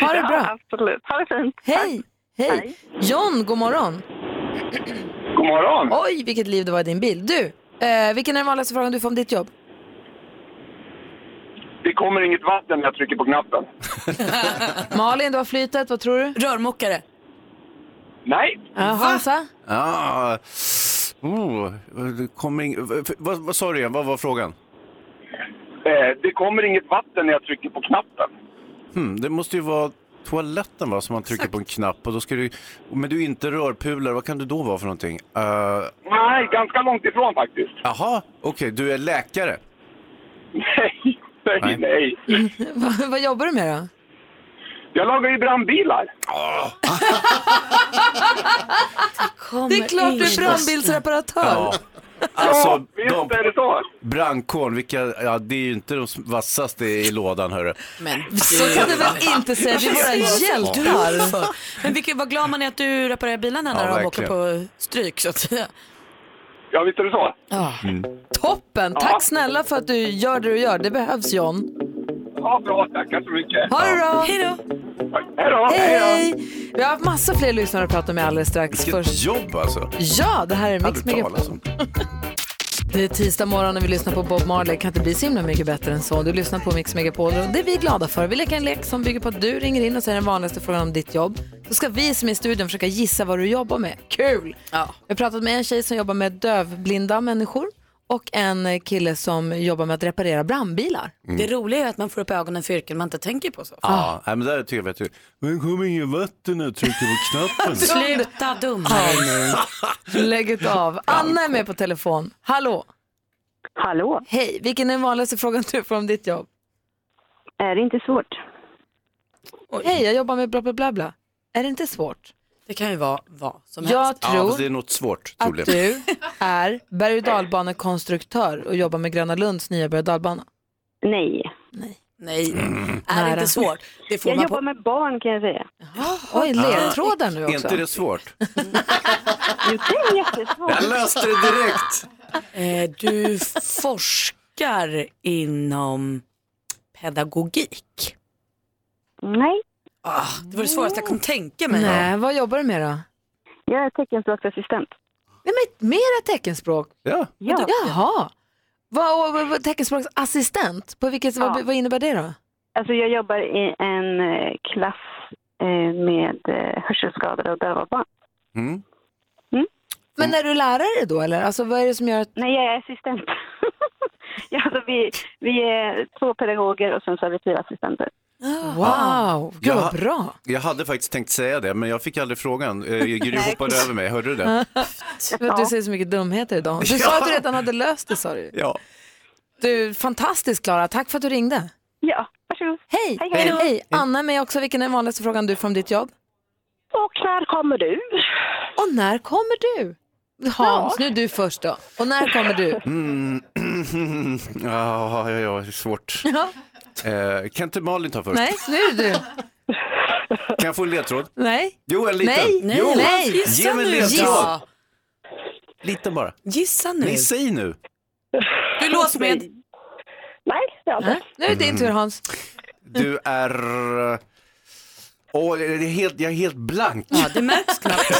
S1: Ha det
S9: Ja,
S1: bra.
S9: absolut. Ha det fint.
S1: Hej. Hej. John, god morgon.
S13: God morgon.
S1: Oj, vilket liv det var i din bil. Du, eh, vilken är den vanligaste frågan du får om ditt jobb?
S13: Det kommer inget vatten när jag trycker på knappen.
S1: Malin, du har flytet, vad tror du?
S2: Rörmokare.
S13: Nej.
S1: Ja, Hansa?
S3: Ah, oh, det kommer in, vad, vad sa du igen, vad var frågan?
S13: Eh, det kommer inget vatten när jag trycker på knappen.
S3: Hmm, det måste ju vara toaletten va, som man trycker på en knapp och då ska du, men du är inte rörpulare, vad kan du då vara för någonting? Eh,
S13: Nej, ganska långt ifrån faktiskt.
S3: Jaha, Ah, okej, du är läkare?
S13: Nej, nej, nej.
S1: vad, vad jobbar du med då?
S13: Jag lagar ju brandbilar.
S3: Ah,
S1: Det är klart du är
S13: ingen
S1: brandbilsreparatör.
S3: Ja. Alltså,
S13: visst
S3: de,
S13: är det så.
S3: brandkåren, vilka, ja, det är ju inte de vassaste i lådan hörru.
S2: Men
S1: Så kan du väl inte säga till våra hjältar?
S2: Men vilket, vad glad man är att du reparerar bilarna när
S3: Ja,
S2: de åker på
S3: verkligen.
S2: stryk så att säga.
S13: Ja, visst är det så.
S3: Mm.
S1: Toppen! Tack snälla för att du gör det du gör. Det behövs John.
S13: Ja, bra. Tackar så mycket.
S1: Ha det bra! Hej
S13: då!
S1: Hej! Vi har haft massa fler lyssnare att prata med alldeles strax.
S3: Vilket
S1: Först-
S3: jobb alltså.
S1: Ja, det här är Mix
S3: Aldrig talas
S1: Megapol.
S3: om.
S1: Det är tisdag morgon och vi lyssnar på Bob Marley. Kan inte bli så himla mycket bättre än så. Du lyssnar på Mix Megapol och det är vi glada för. Vi leker en lek som bygger på att du ringer in och säger den vanligaste frågan om ditt jobb. Så ska vi som är i studion försöka gissa vad du jobbar med. Kul!
S2: Ja.
S1: Jag har pratat med en tjej som jobbar med dövblinda människor och en kille som jobbar med att reparera brandbilar.
S2: Det roliga är att man får upp ögonen för yrken man inte tänker på så.
S3: Ja, Ah, nej, men där tycker jag att du, men kommer ingen vatten när jag trycker på knappen?
S2: Sluta dumma
S1: Lägg ut av. Anna är med på telefon. Hallå!
S14: Hallå!
S1: Hej! Vilken är den vanligaste frågan du får om ditt jobb?
S14: Är det inte svårt?
S1: Hej, jag jobbar med bla bla bla bla. Är det inte svårt?
S2: Det kan ju vara vad som
S1: Jag
S2: helst.
S1: tror-
S3: Ja, fast det är något svårt
S1: Att
S3: troligen.
S1: du är berg och dalbanekonstruktör och jobbar med Gröna Lunds nya berg och dalbana?
S14: Nej.
S2: Nej,
S1: Nära.
S2: är det inte svårt? Det får
S14: jag
S2: man
S14: jobbar
S2: på...
S14: med barn kan jag säga.
S1: Oj,
S3: Ah.
S1: ledtrådar nu
S3: Är
S1: också.
S3: inte det svårt?
S14: Jo, det är jättesvårt.
S3: Jag löste det direkt.
S2: Eh, du forskar inom pedagogik.
S14: Nej.
S2: Ah, det var det svåraste jag kunde tänka mig.
S1: Nej, vad jobbar du med då?
S14: Jag är teckenspråksassistent.
S1: Nej, men mera teckenspråk?
S3: Ja.
S14: Ja.
S1: Jaha. Vad, vad, vad, teckenspråksassistent, på vilket, vad, vad innebär det då?
S14: Alltså jag jobbar i en eh, klass eh, med eh, hörselskadade och döva barn.
S3: Mm.
S14: Mm.
S1: Men är du lärare då eller? Alltså vad är det som gör att...
S14: Nej, jag är assistent. ja, alltså vi, vi är två pedagoger och sen så har vi fyra assistenter.
S1: Wow, gud
S3: Jag-
S1: vad bra.
S3: Jag hade faktiskt tänkt säga det, men jag fick aldrig frågan. Eh, Gry hoppade över mig, hörde du det?
S1: För att Du säger så mycket dumheter idag. Du sa att du redan hade löst det sa du.
S3: Ja.
S1: Du, fantastiskt Klara, tack för att du ringde.
S14: Ja, varsågod.
S1: Hej!
S14: Hej, hej.
S1: Anna är med också, vilken är den vanligaste frågan du får om ditt jobb?
S14: Och när kommer du?
S1: Och när kommer du? Hans, nu är du först då. Och när kommer du?
S3: Mm. ja, ja, ja, det är svårt.
S1: Ja.
S3: Eh, kan inte Malin ta först?
S1: Nej, nu är det du.
S3: Kan jag få en ledtråd?
S1: Nej.
S3: Jo, en liten.
S1: Nej, nej,
S3: jo.
S1: nej.
S3: Ge
S1: Gissa
S3: mig en
S1: nu.
S3: ledtråd.
S1: Gissa.
S3: Liten bara.
S2: Gissa nu.
S3: Nej, säg nu.
S2: Du är låsmed.
S14: Nej, det är inte.
S1: Nu är det din tur Hans. Mm.
S3: Du är... eh, Åh, det är helt, jag är helt blank.
S2: Ja, det märks knappt.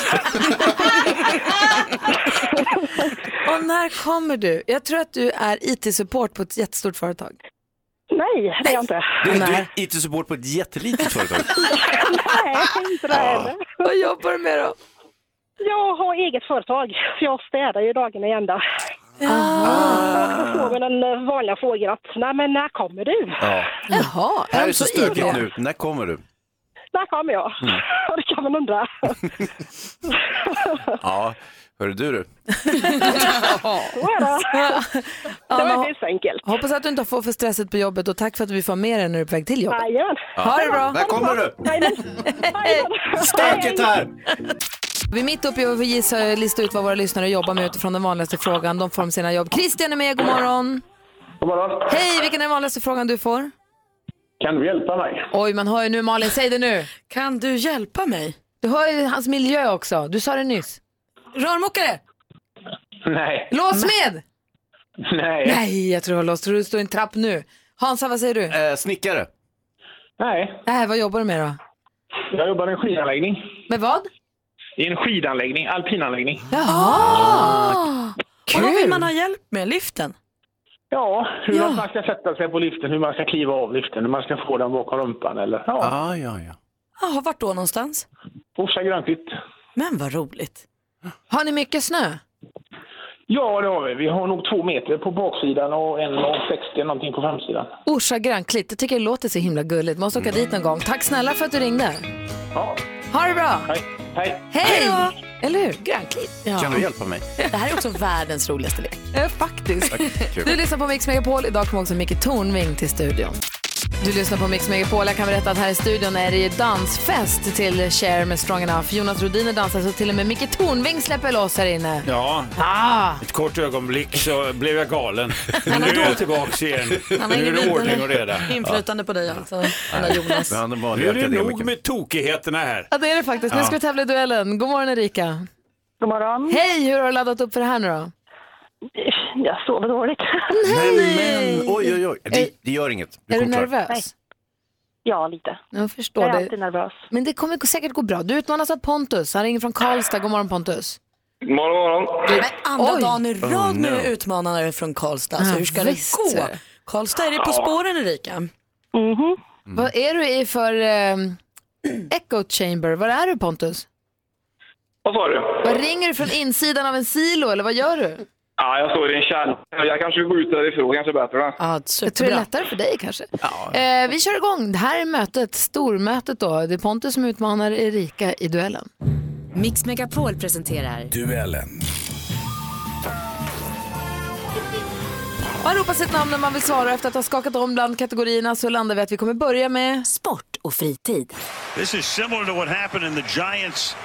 S1: Och när kommer du? Jag tror att du är IT-support på ett jättestort företag.
S14: Nej, det är jag inte.
S3: Du, du
S1: Nej.
S3: är IT-support på ett jättelitet företag.
S14: Nej, inte det heller.
S1: Vad jobbar du med då?
S14: Jag har eget företag, så jag städar ju dagen i ända.
S15: Och då får vi den vanliga frågan att, nej men när kommer du?
S3: Ja.
S1: Jaha,
S3: Här är
S15: öm
S3: så
S15: så
S3: stökigt
S15: illa.
S3: nu. När kommer du?
S15: När kommer jag?
S3: Mm.
S15: det kan man undra.
S3: Ja, hörru du du.
S15: Så är det. Det var
S1: så enkelt. Hoppas att du inte får för stresset på jobbet och tack för att vi får med dig när du är på väg till jobbet.
S15: Jajamän.
S1: Ha det bra.
S3: När kommer du?
S1: Stökigt
S3: här!
S1: Vi är mitt uppe i att gissa- lista ut vad våra lyssnare jobbar med utifrån den vanligaste frågan. De får om sina jobb. Christian är med, god morgon.
S16: God morgon.
S1: Hej, vilken är den vanligaste frågan du får?
S16: Kan du hjälpa mig?
S1: Oj, man hör ju nu Malin, säg det nu. Kan du hjälpa mig? Du hör ju hans miljö också, du sa det nyss. Rörmokare!
S16: Nej.
S1: Låsmed!
S16: Nej.
S1: Nej, jag tror jag har låst. Tror du det står i en trapp nu? Hansa, vad säger du?
S3: Eh, snickare.
S16: Nej.
S1: Nej, vad jobbar du med då?
S16: Jag jobbar i en skidanläggning.
S1: Med vad?
S16: I en skidanläggning, alpinanläggning.
S2: Ah! Och vad vill man ha hjälp med? Liften?
S16: Ja, Hur man ska sätta sig på liften, hur man ska kliva av liften, hur man ska få den bakom rumpan eller... Ja,
S3: ah, ja, ja.
S2: Jaha, vart då någonstans?
S16: Orsa grönkvitt.
S2: Men vad roligt.
S1: Har ni mycket snö?
S16: Ja, det har vi. Vi har nog två meter på baksidan och en och 60 någonting på framsidan.
S1: Orsa grönklitt, jag tycker det låter så himla gulligt. Måste åka dit någon gång. Tack snälla för att du ringde.
S16: Ja.
S1: Ha det bra!
S16: Hej. Hej!
S1: Hej! Eller hur? Grönklitt.
S3: Kan du hjälpa mig?
S2: Det här är också världens roligaste lek.
S1: Eh, faktiskt.
S2: Tack, kul.
S1: Du lyssnar på Mix Megapol. Idag kommer också Micke Tornving till studion. Du lyssnar på Mix Megapol. Jag kan berätta att här i studion är det ju dansfest till Cher med Strong Enough. Jonas Rhodiner dansar så till och med Micke Tornving släpper loss här inne.
S17: Ja, ett kort ögonblick så blev jag galen. Men nu är jag tillbaka igen.
S2: Han har
S17: Nu är
S2: ingen
S17: det ordning och
S2: vidare
S17: reda.
S2: Inflytande på dig alltså, den där
S17: Nej.
S2: Jonas.
S17: Men han är vanlig
S2: Nu är det
S17: akademiker.
S2: nog
S17: med tokigheterna här.
S1: Ja, det är det faktiskt. Nu
S17: Ja.
S1: ska vi tävla i duellen. God morgon Erika.
S15: God morgon.
S1: Hej, hur har du laddat upp för det här nu då?
S15: Jag sover dåligt.
S3: Nej, men oj, oj, oj. Det, det gör inget.
S1: Är du
S3: kommer klara.
S1: nervös?
S15: Ja, lite.
S1: Jag förstår
S15: Jag är
S1: det.
S15: alltid nervös.
S1: Men det kommer säkert gå bra. Du utmanas av Pontus. Han ringer från Karlstad. God morgon Pontus.
S13: Morgon, morgon.
S2: Andra dagen i
S13: Oh,
S2: rad
S13: no.
S2: nu no. utmanare från Karlstad.
S1: Ja,
S2: så hur ska det
S1: visst.
S2: gå? Karlstad, är det På spåren Erika?
S15: Mhm.
S1: Vad är du i för eh, echo chamber? Var är du Pontus?
S13: Vad sa du?
S1: Vad ringer du från insidan av en silo eller vad gör du?
S13: Ja, jag står i en kärn. Jag kanske går ut därifrån, kanske bättre. va?
S1: Jag tror det är lättare för dig kanske.
S13: Ja.
S1: Eh, vi kör igång. Det här är mötet, stormötet då. Det är Pontus som utmanar Erika i duellen.
S11: Mix Megapol presenterar
S18: Duellen.
S1: Man ropar sitt namn när man vill svara efter att ha skakat om bland kategorierna så landar vi att vi kommer börja med sport och fritid.
S19: This is similar to what happened in the Giants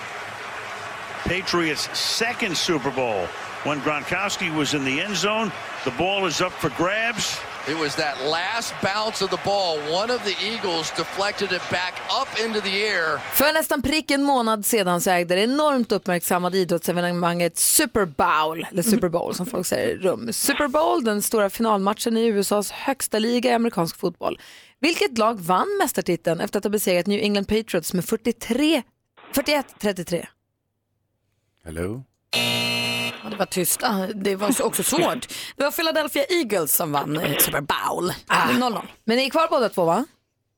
S19: Patriots second Super Bowl when Gronkowski was in the end zone. The ball is up for grabs.
S20: It was that last bounce of the ball. One of the Eagles deflected it back up into the air.
S1: För nästan prick en månad sedan så ägde det enormt uppmärksammade idrottsevenemanget Super Bowl, eller
S2: Mhm.
S1: Super Bowl som folk säger, rum. Super Bowl, den stora finalmatchen i USAs högsta liga i amerikansk fotboll. Vilket lag vann mästartiteln efter att ha besegrat New England Patriots med 43, 41-33?
S3: Hello?
S2: Ja, det var tyst. Ah, Det var så- också svårt. Det var Philadelphia Eagles som vann eh, Super Bowl.
S1: Ah.
S2: 0-0.
S1: Men ni är kvar båda två va?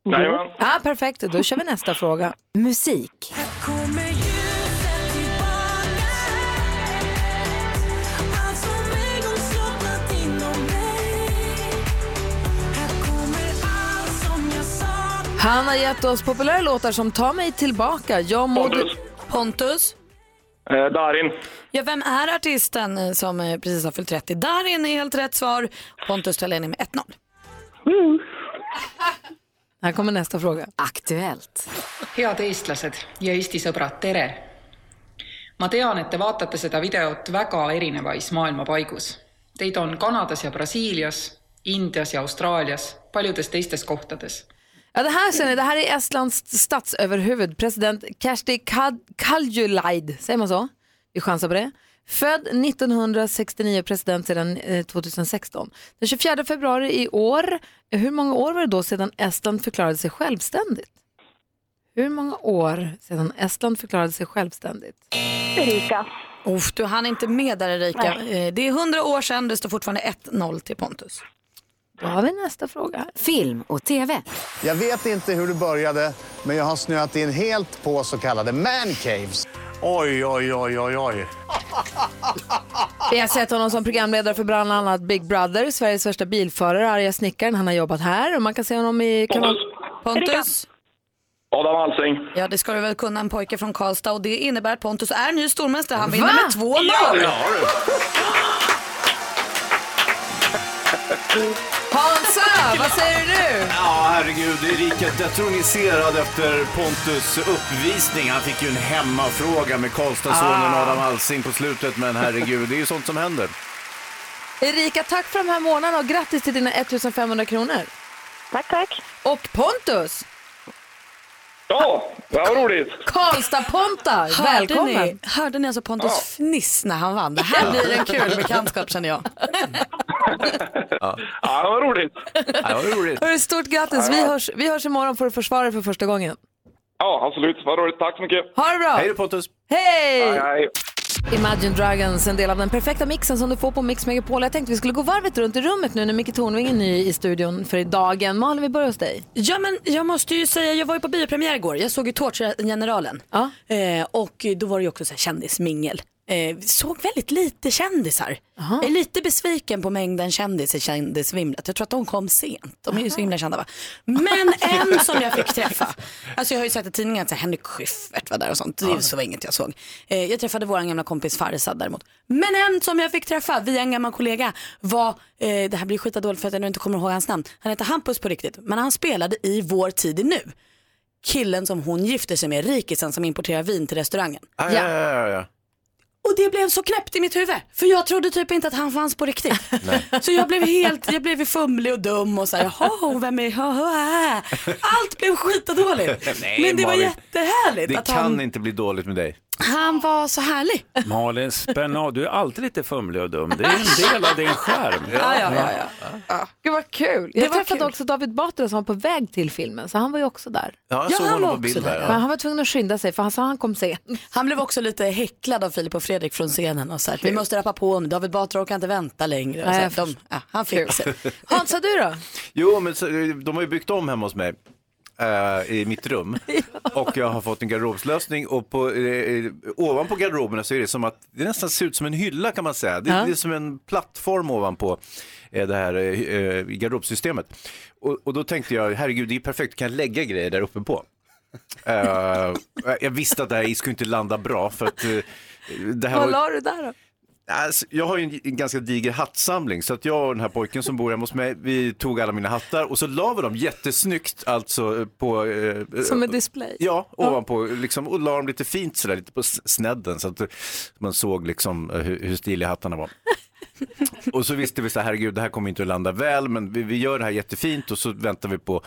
S1: Mm.
S2: Jajamän.
S1: Ja, perfekt, då kör vi nästa fråga. Musik. Han har gett oss populära låtar som Ta mig tillbaka, Jag må...
S2: Pontus. Pontus.
S13: Eh, Darin.
S2: Ja, vem är artisten eh, som eh, precis har fyllt 30? Darin är helt rätt svar. Pontus tar ledning med 1-0.
S1: Här kommer nästa fråga.
S11: Aktuellt.
S6: head eestlased ja Eesti sõbrad , tere! ma tean , et te vaatate seda videot väga erinevais maailmapaigus . Teid on Kanadas ja Brasiilias , Indias ja Austraalias , paljudes teistes kohtades .
S1: Ja, det, här ser ni, det här är Estlands statsöverhuvud, president Kersti Kad- Kaljulaid. Säger man så? Vi chansar på det. Född 1969, president sedan eh, 2016. Den 24 februari i år, eh, hur många år var det då sedan Estland förklarade sig självständigt? Hur många år sedan Estland förklarade sig självständigt?
S2: Erika. Uff, du hann inte med där Erika. Eh, Det är 100 år sedan, det står fortfarande 1-0 till Pontus.
S1: Då har vi nästa fråga.
S11: Film och TV.
S5: Jag vet inte hur det började, men jag har snöat in helt på så kallade mancaves. Oj, oj, oj, oj, oj.
S1: Vi har sett honom som programledare för bland annat Big Brother, Sveriges värsta bilförare, arga snickaren. Han har jobbat här och man kan se honom i kanal... Pontus.
S7: Adam Alsing.
S2: Ja, det ska du väl kunna, en pojke från Karlstad. Och det innebär att Pontus är ny stormästare. Han vinner
S1: Va?
S2: med 2-0.
S1: Hansa, vad säger du?
S3: Ja, herregud, det är riket. Jag tror ni ser efter Pontus uppvisning. Han fick ju en hemmafråga med Karlstadssonen
S1: Ah.
S3: Adam Alsing på slutet. Men herregud, det är ju sånt som händer.
S1: Erika, tack för de här månaderna och grattis till dina 1500 kronor. Tack, tack. Och Pontus,
S7: Ja, vad roligt.
S1: Karlstad-Ponta,
S2: Hörde
S1: välkommen.
S2: ni, hörde ni alltså Pontus fniss när han vann? Det här
S7: Ja.
S2: blir en kul bekantskap känner jag.
S7: Ja, vad roligt.
S3: Ja, vad roligt.
S1: Hörru, stort grattis. Vi hörs, vi hörs imorgon för att försvara dig för första gången.
S7: Ja, absolut. Vad roligt. Tack så mycket.
S1: Ha det bra.
S7: Hej
S1: Hej
S7: då,
S1: då,
S3: Pontus.
S1: Hej!
S7: Hej, hej.
S1: Imagine Dragons, en del av den perfekta mixen som du får på Mix Megapol. Jag tänkte vi skulle gå varvet runt i rummet nu när Micke Tornving är ny i studion för dagen. Malin, vi börjar hos dig.
S2: Ja men jag måste ju säga, jag var ju på biopremiär igår. Jag såg ju Tårtgeneralen. Eh, och då var det ju också så här kändismingel. Eh, vi såg väldigt lite kändisar. Jag är lite besviken på mängden kändis i kändisvimlet. Jag tror att de kom sent. De är ju så himla kända va. Men en som jag fick träffa. Alltså jag har ju sett i tidningen att så här, Henrik Schyffert var där och sånt. Det
S21: Ja.
S2: så var inget jag såg. Eh, jag träffade vår gamla kompis Farzad däremot. Men en som jag fick träffa via en gammal kollega var, eh, det här blir skitdåligt för att jag nu inte kommer ihåg hans namn. Han heter Hampus på riktigt, men han spelade i Vår tid är nu. Killen som hon gifter sig med, rikisen som importerar vin till restaurangen.
S3: Ah, Ja, ja, ja, ja.
S2: Och det blev så knäppt i mitt huvud. För jag trodde typ inte att han fanns på riktigt. Så jag blev helt, jag blev fumlig och dum och så här, jaha, vem är, jaha, allt blev skitdåligt.
S3: Nej,
S2: Men det var
S3: Malin.
S2: jättehärligt
S3: Det
S2: att
S3: kan
S2: han,
S3: inte bli dåligt med dig.
S2: han var så härlig.
S3: Malin, spänn av. Du är alltid lite fumlig och dum. Det är en del av din charm.
S1: Ja, ja, ja, ja. Gud vad kul.
S2: Det
S1: Jag
S2: var
S1: träffade också David Batra som var på väg till filmen, så han var ju också där.
S3: Ja, jag såg
S2: han
S3: honom
S2: var
S3: på bild
S2: också
S3: där.
S2: där.
S1: Men han var tvungen att skynda sig för han sa han kom sent.
S2: Han blev också lite häcklad av Filip och Fredrik från scenen och så här, vi måste rappa på nu, David Batra orkar inte vänta längre. Och så
S1: Nej,
S2: här,
S1: jag
S2: de, ja, han fick sig.
S1: Hansa, du då?
S3: Jo, men så, eh, de har ju byggt om hemma hos mig. eh, I mitt rum. Och jag har fått en garderobslösning och på, eh, ovanpå garderoberna så är det som att det nästan ser ut som en hylla kan man säga. Det,
S22: Ja.
S3: det är som en plattform ovanpå eh, det här eh, garderobsystemet. Och, och då tänkte jag, herregud det är ju perfekt, kan jag lägga grejer där uppe på? Eh, jag visste att det här skulle inte landa bra för att eh, det här
S1: Vad
S3: var-
S1: la du där då?
S3: Alltså, jag har ju en, en ganska diger hattsamling så att jag och den här pojken som bor hemma hos mig, vi tog alla mina hattar och så la vi dem jättesnyggt alltså på... eh,
S1: Som en
S3: eh,
S1: display?
S3: Ja, ovanpå liksom, och la dem lite fint sådär, lite på s- snedden så att man såg liksom eh, hur, hur stiliga hattarna var. Och så visste vi så här, herregud, det här kommer inte att landa väl, men vi, vi gör det här jättefint och så väntar vi på,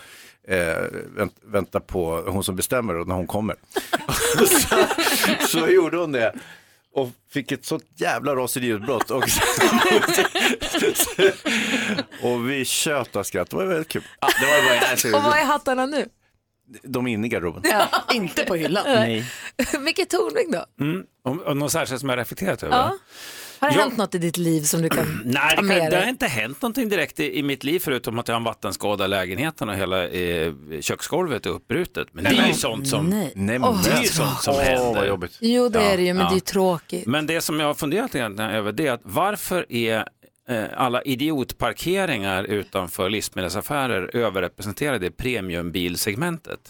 S3: eh, vänt, väntar på hon som bestämmer och när hon kommer. så, så gjorde hon det och fick ett sånt jävla raseriutbrott. Och, och vi tjöt av skratt, det var väldigt kul. Ah, det var bara, alltså,
S1: Och vad är hattarna nu?
S3: de är inne i garderoben.
S2: inte på hyllan.
S3: Nej.
S1: Micke Tornving då?
S23: Mm. Om, om något särskilt som jag reflekterat över?
S1: Ja. Har det
S23: Ja.
S1: hänt något i ditt liv som du kan
S23: Nej,
S1: ta
S23: det, kan,
S1: med
S23: det har
S1: dig?
S23: inte hänt någonting direkt i, i mitt liv förutom att jag har en vattenskada i lägenheten och hela eh, köksgolvet är uppbrutet. Men det är ju sånt som,
S1: Nej.
S23: Nej, men
S1: Åh,
S23: det är ju
S1: vad
S23: sånt som
S1: tråkigt.
S23: händer.
S1: Åh, vad jobbigt. Jo, det är det ju, men
S23: Ja.
S1: det är ju tråkigt.
S23: Men det som jag har funderat egentligen över det är att varför är eh, alla idiotparkeringar utanför livsmedelsaffärer överrepresenterade i premiumbilsegmentet?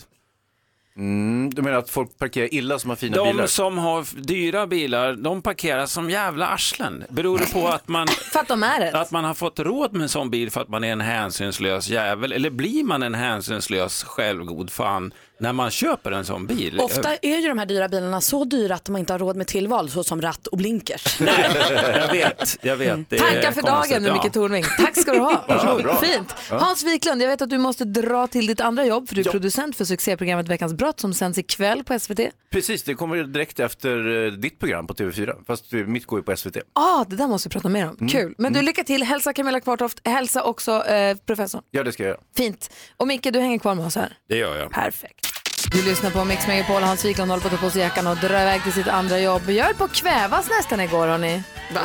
S3: Mm, du menar att folk parkerar illa som har fina
S23: de
S3: bilar?
S23: som har f- dyra bilar, de parkerar som jävla arslen. Beror det på att man,
S1: För att de är det?
S23: att man har fått råd med en sån bil för att man är en hänsynslös jävel? Eller blir man en hänsynslös självgod fan när man köper en sån bil?
S2: Ofta är ju de här dyra bilarna så dyra att de inte har råd med tillval såsom ratt och blinkers.
S23: jag vet, jag vet. Det är
S1: Tankar för dagen
S23: konstigt,
S1: med
S23: ja.
S1: Micke Tornving. Tack ska du ha.
S23: Ja, bra.
S1: Fint.
S23: Ja.
S1: Hans Wiklund, jag vet att du måste dra till ditt andra jobb för du är producent för succéprogrammet Veckans brott som sänds ikväll på SVT.
S3: Precis, det kommer direkt efter eh, ditt program på TV4, fast eh, mitt går ju på SVT.
S1: Ah, det där måste vi prata mer
S2: Mm.
S1: om. Kul. Men du, lycka till. Hälsa Camilla Kvartoft. Hälsa också eh, professorn.
S3: Ja, det ska jag göra.
S1: Fint. Och Micke, du hänger kvar med oss här.
S23: Det gör jag.
S1: Perfekt. Du lyssnar på Mix Megapol. Hans Wiklund håller på att ta på sig jackan och dra iväg till sitt andra jobb. Jag höll på att kvävas nästan igår, hörni. Va?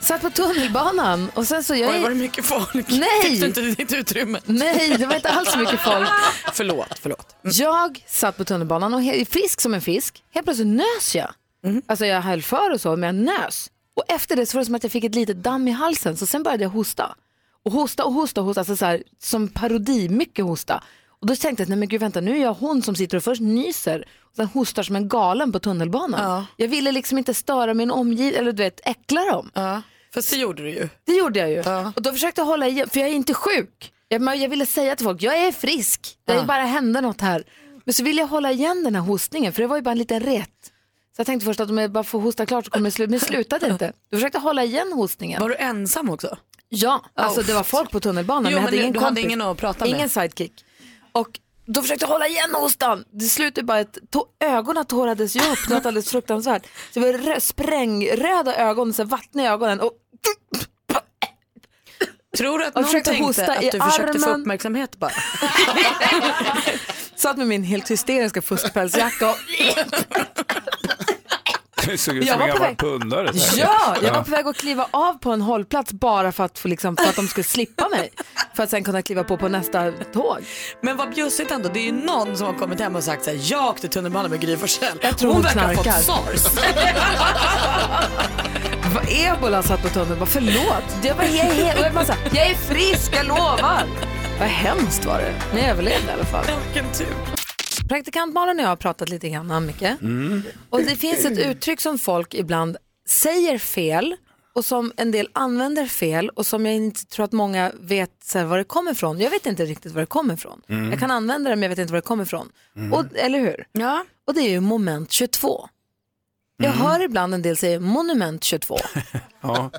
S1: Satt på tunnelbanan och sen så... Jag...
S2: Oj, var det mycket folk?
S1: Nej!
S2: Fick du inte ditt utrymme?
S1: Nej, det var inte alls mycket folk.
S2: förlåt, förlåt.
S1: Jag satt på tunnelbanan och he- frisk som en fisk. Helt plötsligt nös jag. Alltså jag höll för och så, men jag nös. Och efter det så var det som att jag fick ett litet damm i halsen, så sen började jag hosta. Och hosta och hosta och hosta, alltså så här, som parodi, mycket hosta. Och då tänkte jag, nej men gud vänta, nu är jag hon som sitter och först nyser, och sen hostar som en galen på tunnelbanan. Jag ville liksom inte störa min omgivning, eller du vet, äckla dem.
S2: Fast det gjorde du ju.
S1: Det gjorde jag ju. Och då försökte jag hålla igen, för jag är inte sjuk. Jag, men jag ville säga till folk, jag är frisk, det
S2: Ja.
S1: bara hände något här. Men så ville jag hålla igen den här hostningen, för det var ju bara en liten ret. Så jag tänkte först att om jag bara får hosta klart så kommer det sluta, men det slutade inte. Du försökte hålla igen hostningen.
S2: Var du ensam också? Oh.
S1: Ja, alltså det var folk på tunnelbanan,
S2: Jo,
S1: men jag hade
S2: men
S1: ingen
S2: du hade
S1: kompis.
S2: ingen att prata med.
S1: Ingen sidekick. Och då försökte jag hålla igen hostan. Det slutade bara att to- ögonen tårades ju upp, något alldeles fruktansvärt. Så det var rö- sprängröda ögon, så här vattniga ögonen. Och
S2: Tror du att
S1: Jag
S2: någon
S1: försökte
S2: tänkte
S1: hosta
S2: att
S1: i
S2: du försökte få
S1: armen.
S2: uppmärksamhet bara?
S1: satt med min helt hysteriska fuskpälsjacka och
S23: Du såg ut
S1: Jag
S23: som en
S1: var på
S23: gammal
S1: väg-
S23: pundare. så här.
S1: Ja, jag var på väg att kliva av på en hållplats bara för att, få liksom, för att de skulle slippa mig. För att sen kunna kliva på på nästa tåg.
S2: Men vad bjussigt ändå, det är ju någon som har kommit hem och sagt så här, jag åkte tunnelbana med Gry Forssell.
S1: Jag tror hon
S2: verkar ha
S1: knarkar.
S2: fått sars.
S1: Vad Ebola satt på tunneln bara förlåt. Jag, bara, jag, är, he- och jag, bara, så här, jag är frisk, jag lovar. Vad hemskt var det. Men jag överlevde i alla fall.
S2: Vilken tur.
S1: Praktikant Malin och jag har pratat lite grann om mycket.
S4: Mm.
S1: Och det finns ett uttryck som folk ibland säger fel och som en del använder fel och som jag inte tror att många vet så här, var det kommer ifrån. Jag vet inte riktigt var det kommer ifrån.
S4: Mm.
S1: Jag kan använda det men jag vet inte var det kommer ifrån.
S4: Mm.
S1: Och, eller hur?
S2: Ja.
S1: Och det är ju moment 22. Jag hör ibland en del säga monument 22.
S23: Ja,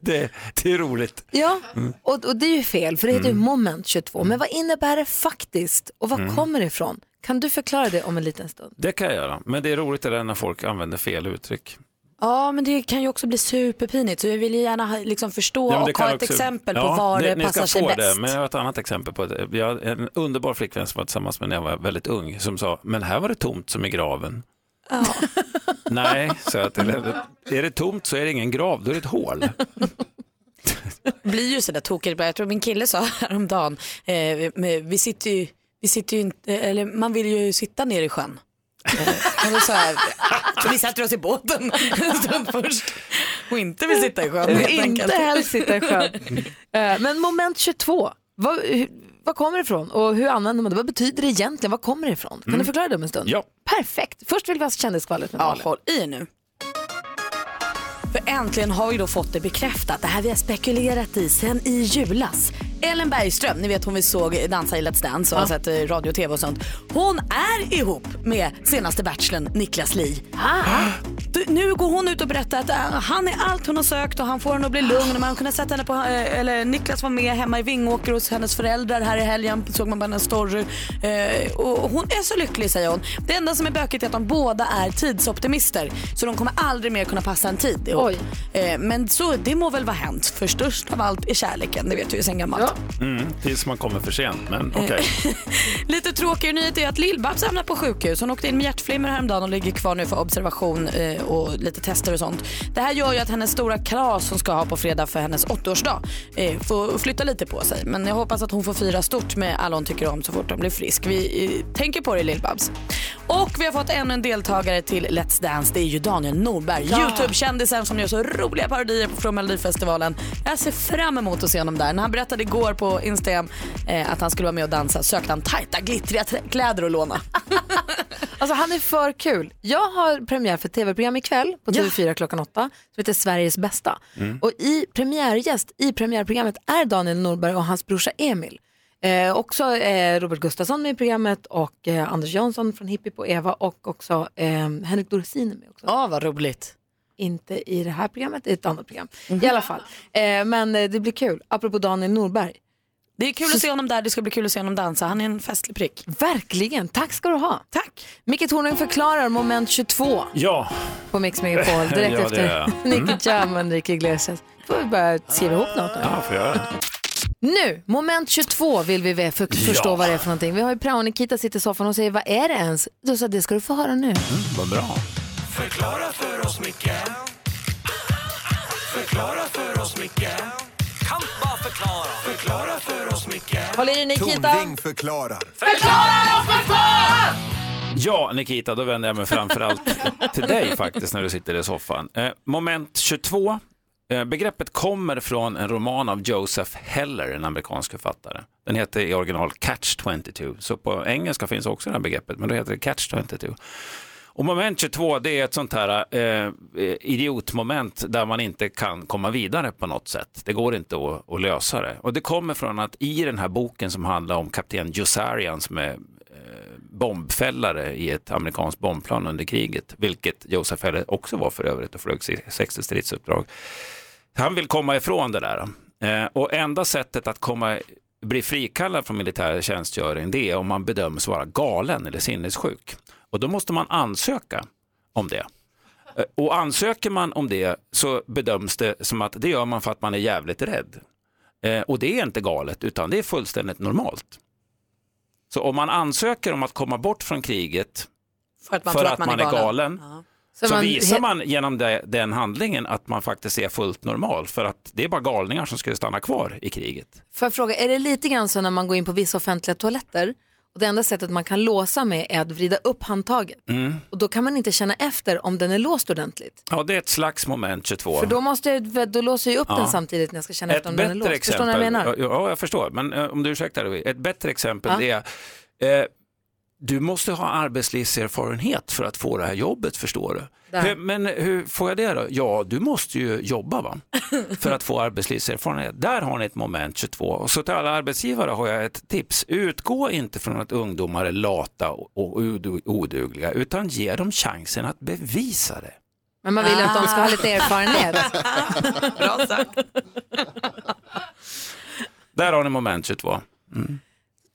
S23: det, det är roligt.
S1: ja, och, och det är ju fel för det heter ju
S23: Mm.
S1: moment 22. Men vad innebär det faktiskt och var
S23: Mm.
S1: kommer det ifrån? Kan du förklara det om en liten stund?
S23: Det kan jag göra, men det är roligt det där när folk använder fel uttryck.
S2: Ja, men det kan ju också bli superpinigt så jag vill ju gärna ha- liksom förstå
S23: Ja, men det
S2: och
S23: kan
S2: ha ett
S23: också-
S2: exempel på
S23: Ja,
S2: var
S23: ni-
S2: det,
S23: ni
S2: passar
S23: ska
S2: sig
S23: få
S2: bäst.
S23: Det, men jag har ett annat exempel på det. Jag hade en underbar flickvän som var tillsammans med när jag var väldigt ung som sa, men här var det tomt som i graven. Nej, så att, eller, är det tomt så är det ingen grav, då är det ett hål.
S2: blir ju sådär tokigt. ibland. Jag tror min kille sa häromdagen, eh, vi, vi sitter ju, vi sitter ju inte, eh, eller man vill ju sitta ner i sjön. Eh, och då sa jag, vi sätter oss i båten en stund först och inte vill sitta i sjön helt enkelt.
S1: Inte helst sitta i sjön. Eh, Men moment 22, vad, hur- vad kommer det ifrån och hur använder man det? Vad betyder det egentligen? Vad kommer det ifrån? Kan
S2: Mm.
S1: du förklara det om en stund?
S2: Ja.
S1: Perfekt. Först vill vi ha kändisskvallret med
S2: Ja,
S1: Malin.
S2: håll i er nu. För äntligen har vi då fått det bekräftat, det här vi har spekulerat i sen i julas. Ellen Bergström, ni vet hon vi såg dansa i Let's Dance och har sett eh, radio och tv och sånt. Hon är ihop med senaste bachelorn Niklas Li.
S1: Ah.
S2: Du, Nu går hon ut och berättar att eh, han är allt hon har sökt och han får henne att bli lugn. Man kunde sett henne på, eh, eller Niklas var med hemma i Vingåker hos hennes föräldrar här i helgen, såg man på hennes story. Eh, Och hon är så lycklig säger hon. Det enda som är bökigt är att de båda är tidsoptimister så de kommer aldrig mer kunna passa en tid ihop. Eh, Men så det må väl vara hänt, för störst av allt är kärleken, det vet vi ju sen gammalt.
S23: Mm, tills man kommer för sent, men
S2: Eh.
S23: okej.
S2: Lite tråkigare nyhet är att Lill-Babs hamnar på sjukhus. Hon åkte in med hjärtflimmer häromdagen och ligger kvar nu för observation eh, och lite tester och sånt. Det här gör ju att hennes stora kalas hon ska ha på fredag för hennes åttaårsdag eh, får flytta lite på sig. Men jag hoppas att hon får fira stort med alla hon tycker om så fort hon blir frisk. Vi eh, tänker på dig Lill-Babs. Och vi har fått ännu en deltagare till Let's Dance. Det är ju Daniel Norberg,
S4: Ja.
S2: Youtube-kändisen som gör så roliga parodier på från Melodifestivalen. Jag ser fram emot att se honom där. När han berättade igår på Instagram eh, att han skulle vara med och dansa sökte han tajta, glittriga t- kläder att låna.
S1: Alltså han är för kul. Jag har premiär för ett tv-program ikväll på TV4 klockan åtta som heter Sveriges bästa.
S4: Mm.
S1: Och i premiärgäst i premiärprogrammet är Daniel Norberg och hans brorsa Emil. Eh, också eh, Robert Gustafsson med i programmet och eh, Anders Jansson från Hippie på Eva och också eh, Henrik Dorsin är med också.
S2: Ja, vad roligt. Mhm.
S1: Inte i det här programmet, i ett annat program. I alla fall. Eh, men eh, det blir kul, apropå Daniel Norberg.
S2: Det är kul att se honom där, det ska bli kul att se honom dansa. Han är en festlig prick.
S1: Verkligen, tack ska du ha.
S2: Tack.
S1: Micke Tornving förklarar moment 22.
S23: Ja.
S1: på Mix Megapol direkt
S23: Ja, det gör
S1: efter
S23: jag. Mm.
S1: Nicky Jam och Enrique Iglesias. får vi börja skriva ihop något nu.
S23: Ja, får jag göra det?
S1: Nu, moment 22 vill vi ve- för- förstå
S23: Ja.
S1: vad det är för någonting. Vi har ju prao Nikita sitter i soffan och säger vad är det ens? Då sa jag, det ska du få höra nu.
S23: Vad bra.
S4: Förklara för oss, Micke Förklara för oss, Micke Kan bara förklara Förklara för oss, Micke
S1: Håll i dig, Nikita.
S12: Tornving förklarar.
S4: Förklara oss, förklara!
S23: Ja, Nikita, då vänder jag mig framförallt till dig faktiskt när du sitter i soffan. Eh, moment 22. Eh, begreppet kommer från en roman av Joseph Heller, en amerikansk författare. Den heter i original Catch 22, så på engelska finns också det här begreppet, men då heter det Catch 22. Och moment 22, det är ett sånt här eh, idiotmoment där man inte kan komma vidare på något sätt. Det går inte att, att lösa det. Och det kommer från att i den här boken som handlar om kapten Jussarian som är bombfällare i ett amerikanskt bombplan under kriget, vilket Joseph Heller också var för övrigt och flög 60 stridsuppdrag. Han vill komma ifrån det där. Eh, Och enda sättet att komma, bli frikallad från militär tjänstgöring det är om man bedöms vara galen eller sinnessjuk. Och då måste man ansöka om det. Eh, Och ansöker man om det så bedöms det som att det gör man för att man är jävligt rädd. Eh, Och det är inte galet utan det är fullständigt normalt. Så om man ansöker om att komma bort från kriget
S2: För att man
S23: för
S2: tror
S23: att man, är galen,
S1: Så
S23: så,
S1: man-
S23: visar man genom det, den handlingen att man faktiskt är fullt normal för att det är bara galningar som skulle stanna kvar i kriget.
S1: Får jag fråga, är det lite grann så när man går in på vissa offentliga toaletter och det enda sättet man kan låsa med är att vrida upp handtaget
S23: Mm.
S1: och då kan man inte känna efter om den är låst ordentligt.
S23: Ja, det är ett slags moment 22.
S1: För då, måste jag, då låser jag upp
S23: Ja.
S1: den samtidigt när jag ska känna
S15: Ett
S1: efter om den är låst.
S15: bättre
S1: Förstår ni vad jag menar?
S23: Ja, ja, jag förstår. Men eh, om du ursäktar, Lovi, ett bättre exempel
S1: Ja.
S23: det är eh, du måste ha arbetslivserfarenhet för att få det här jobbet, förstår du.
S24: Där.
S23: Hur, men eh, hur får jag det då? Ja, du måste ju jobba va? för att få arbetslivserfarenhet. Där har ni ett moment 22. Och så till alla arbetsgivare har jag ett tips. Utgå inte från att ungdomar är lata och odu- odugliga, utan ge dem chansen att bevisa det.
S1: Men man vill ju att de ska ha lite erfarenhet.
S23: Där har ni moment 22.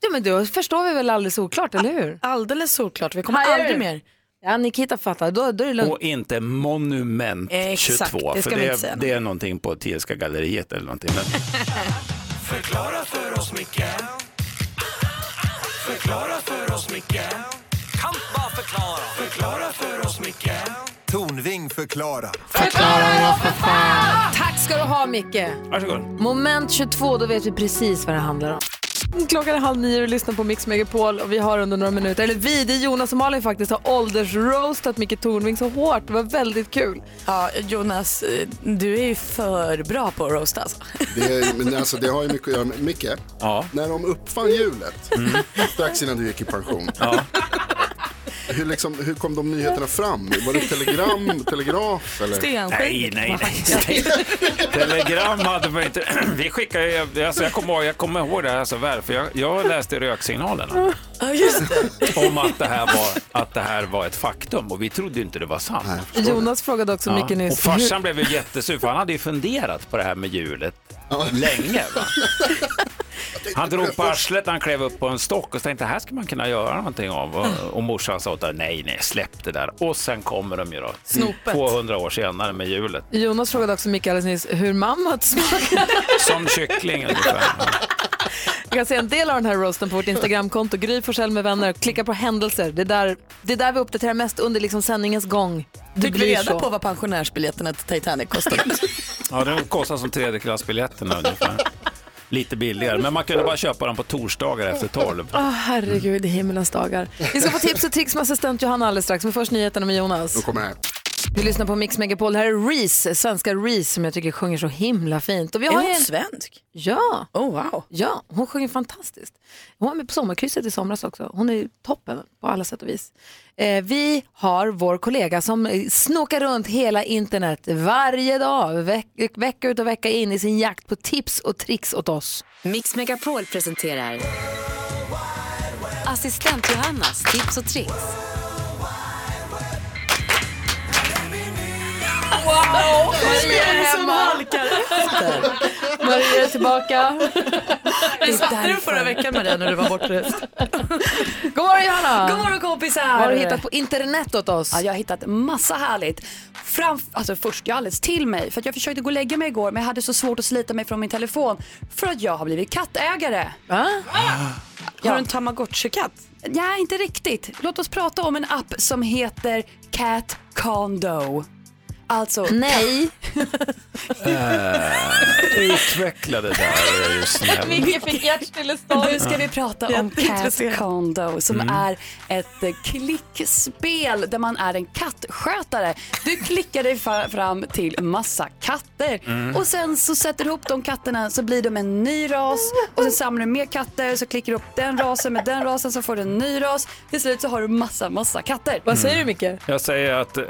S1: Ja, men då förstår vi väl alldeles oklart, eller hur?
S2: Alldeles oklart, vi kommer aldrig mer.
S1: Ja, Nikita fattar, då, då är det lugnt.
S23: Och inte monument
S1: Exakt,
S23: 22,
S1: det ska
S23: för
S1: vi
S23: det,
S1: inte säga.
S23: är, det är någonting på Thielska galleriet eller någonting. Men
S4: Förklara för oss, Micke Förklara för oss, Micke Kan bara förklara Förklara för oss, Micke
S12: Tornving förklarar.
S1: Tack ska du ha, Micke.
S23: Varsågod.
S1: Moment 22, då vet vi precis vad det handlar om. Klockan är halv nio och du lyssnar på Mix Megapol och vi har under några minuter, eller vi, det är Jonas och Malin faktiskt, har åldersroastat Micke Tornving så hårt. Det var väldigt kul.
S2: Ja, Jonas, eh, du är ju för bra på att roasta alltså.
S10: Det, är, men alltså, det har ju mycket att göra med Micke. När de uppfann hjulet,
S23: Mm.
S10: strax innan du gick i pension. Hur, liksom, hur kom de nyheterna fram? Var det telegram, telegraf eller?
S23: Nej, nej, nej. Telegram hade man inte. Vi skickade ju, alltså jag kommer ihåg, jag kommer ihåg det här så väl, för jag, jag läste röksignalerna
S2: Ja, just
S23: om att det, här var, att det här var ett faktum och vi trodde ju inte det var sant.
S1: Jonas frågade också Micke nyss.
S23: Och farsan blev ju jättesur för han hade ju funderat på det här med hjulet länge. Va? Han drog på arslet, han klev upp på en stock och tänkte här ska man kunna göra någonting av. Och, och morsan sa åt honom, nej, nej, släpp det där. Och sen kommer de ju då,
S1: Snopet.
S23: 200 år senare med hjulet.
S1: hur, Jonas frågade också Micke alldeles nyss hur mammut smakar.
S23: Som kyckling ungefär.
S1: Jag kan se en del av den här roasten på vårt Instagramkonto, Gry Forssell med vänner. Klicka på händelser. Det är där, det är där vi uppdaterar mest under liksom sändningens gång. Det
S2: Fick vi
S1: blir
S2: reda
S1: så.
S2: på vad pensionärsbiljetterna till Titanic kostade?
S23: Ja, de kostar som tredjeklassbiljetterna ungefär. Lite billigare, men man kunde bara köpa dem på torsdagar efter tolv.
S1: Åh herregud, i himmelens dagar. Vi ska få tips och tricks med assistent Johanna alldeles strax, men först nyheterna med Jonas.
S10: De kommer här.
S1: Du lyssnar på Mix Megapol, här är Reese, svenska Reese som jag tycker sjunger så himla fint. Och vi
S2: Är
S1: har
S2: hon
S1: en...
S2: svensk?
S1: Ja.
S2: Oh, wow.
S1: ja, hon sjunger fantastiskt. Hon var med på sommarkrysset i somras också. Hon är toppen på alla sätt och vis. Eh, vi har vår kollega som eh, snokar runt hela internet varje dag, veck- vecka ut och vecka in i sin jakt på tips och tricks åt oss.
S11: Mix Megapol presenterar Assistent Johannas tips och tricks.
S1: Wow!
S2: Maria är hemma.
S1: Maria är tillbaka.
S2: Vi satte du förra veckan Maria när du var bortrest.
S1: God morgon Johanna!
S24: God morgon kompisar!
S1: Vad har du hittat på internet åt oss?
S24: Ja, jag har hittat massa härligt. Framf alltså först, jag alldeles till mig för att jag försökte gå och lägga mig igår men jag hade så svårt att slita mig från min telefon för att jag har blivit kattägare.
S2: Ah. Har du en tamagotchi-katt?
S24: Nej, inte riktigt. Låt oss prata om en app som heter Cat Condo. Alltså...
S1: Nej!
S23: Äh, Utveckla det där, är du snäll.
S24: Micke fick hjärtstillestånd. Nu ska vi prata om Cat
S2: Jätteintresserad.
S24: Condo som
S23: Mm.
S24: är ett eh, klickspel där man är en kattskötare. Du klickar dig fa- fram till massa katter
S8: Mm.
S24: och sen så sätter du ihop de katterna så blir de en ny ras och sen samlar du mer katter så klickar du upp den rasen med den rasen så får du en ny ras. Till slut så har du massa, massa katter.
S23: Vad säger Mm.
S24: du Micke?
S23: Jag säger att eh,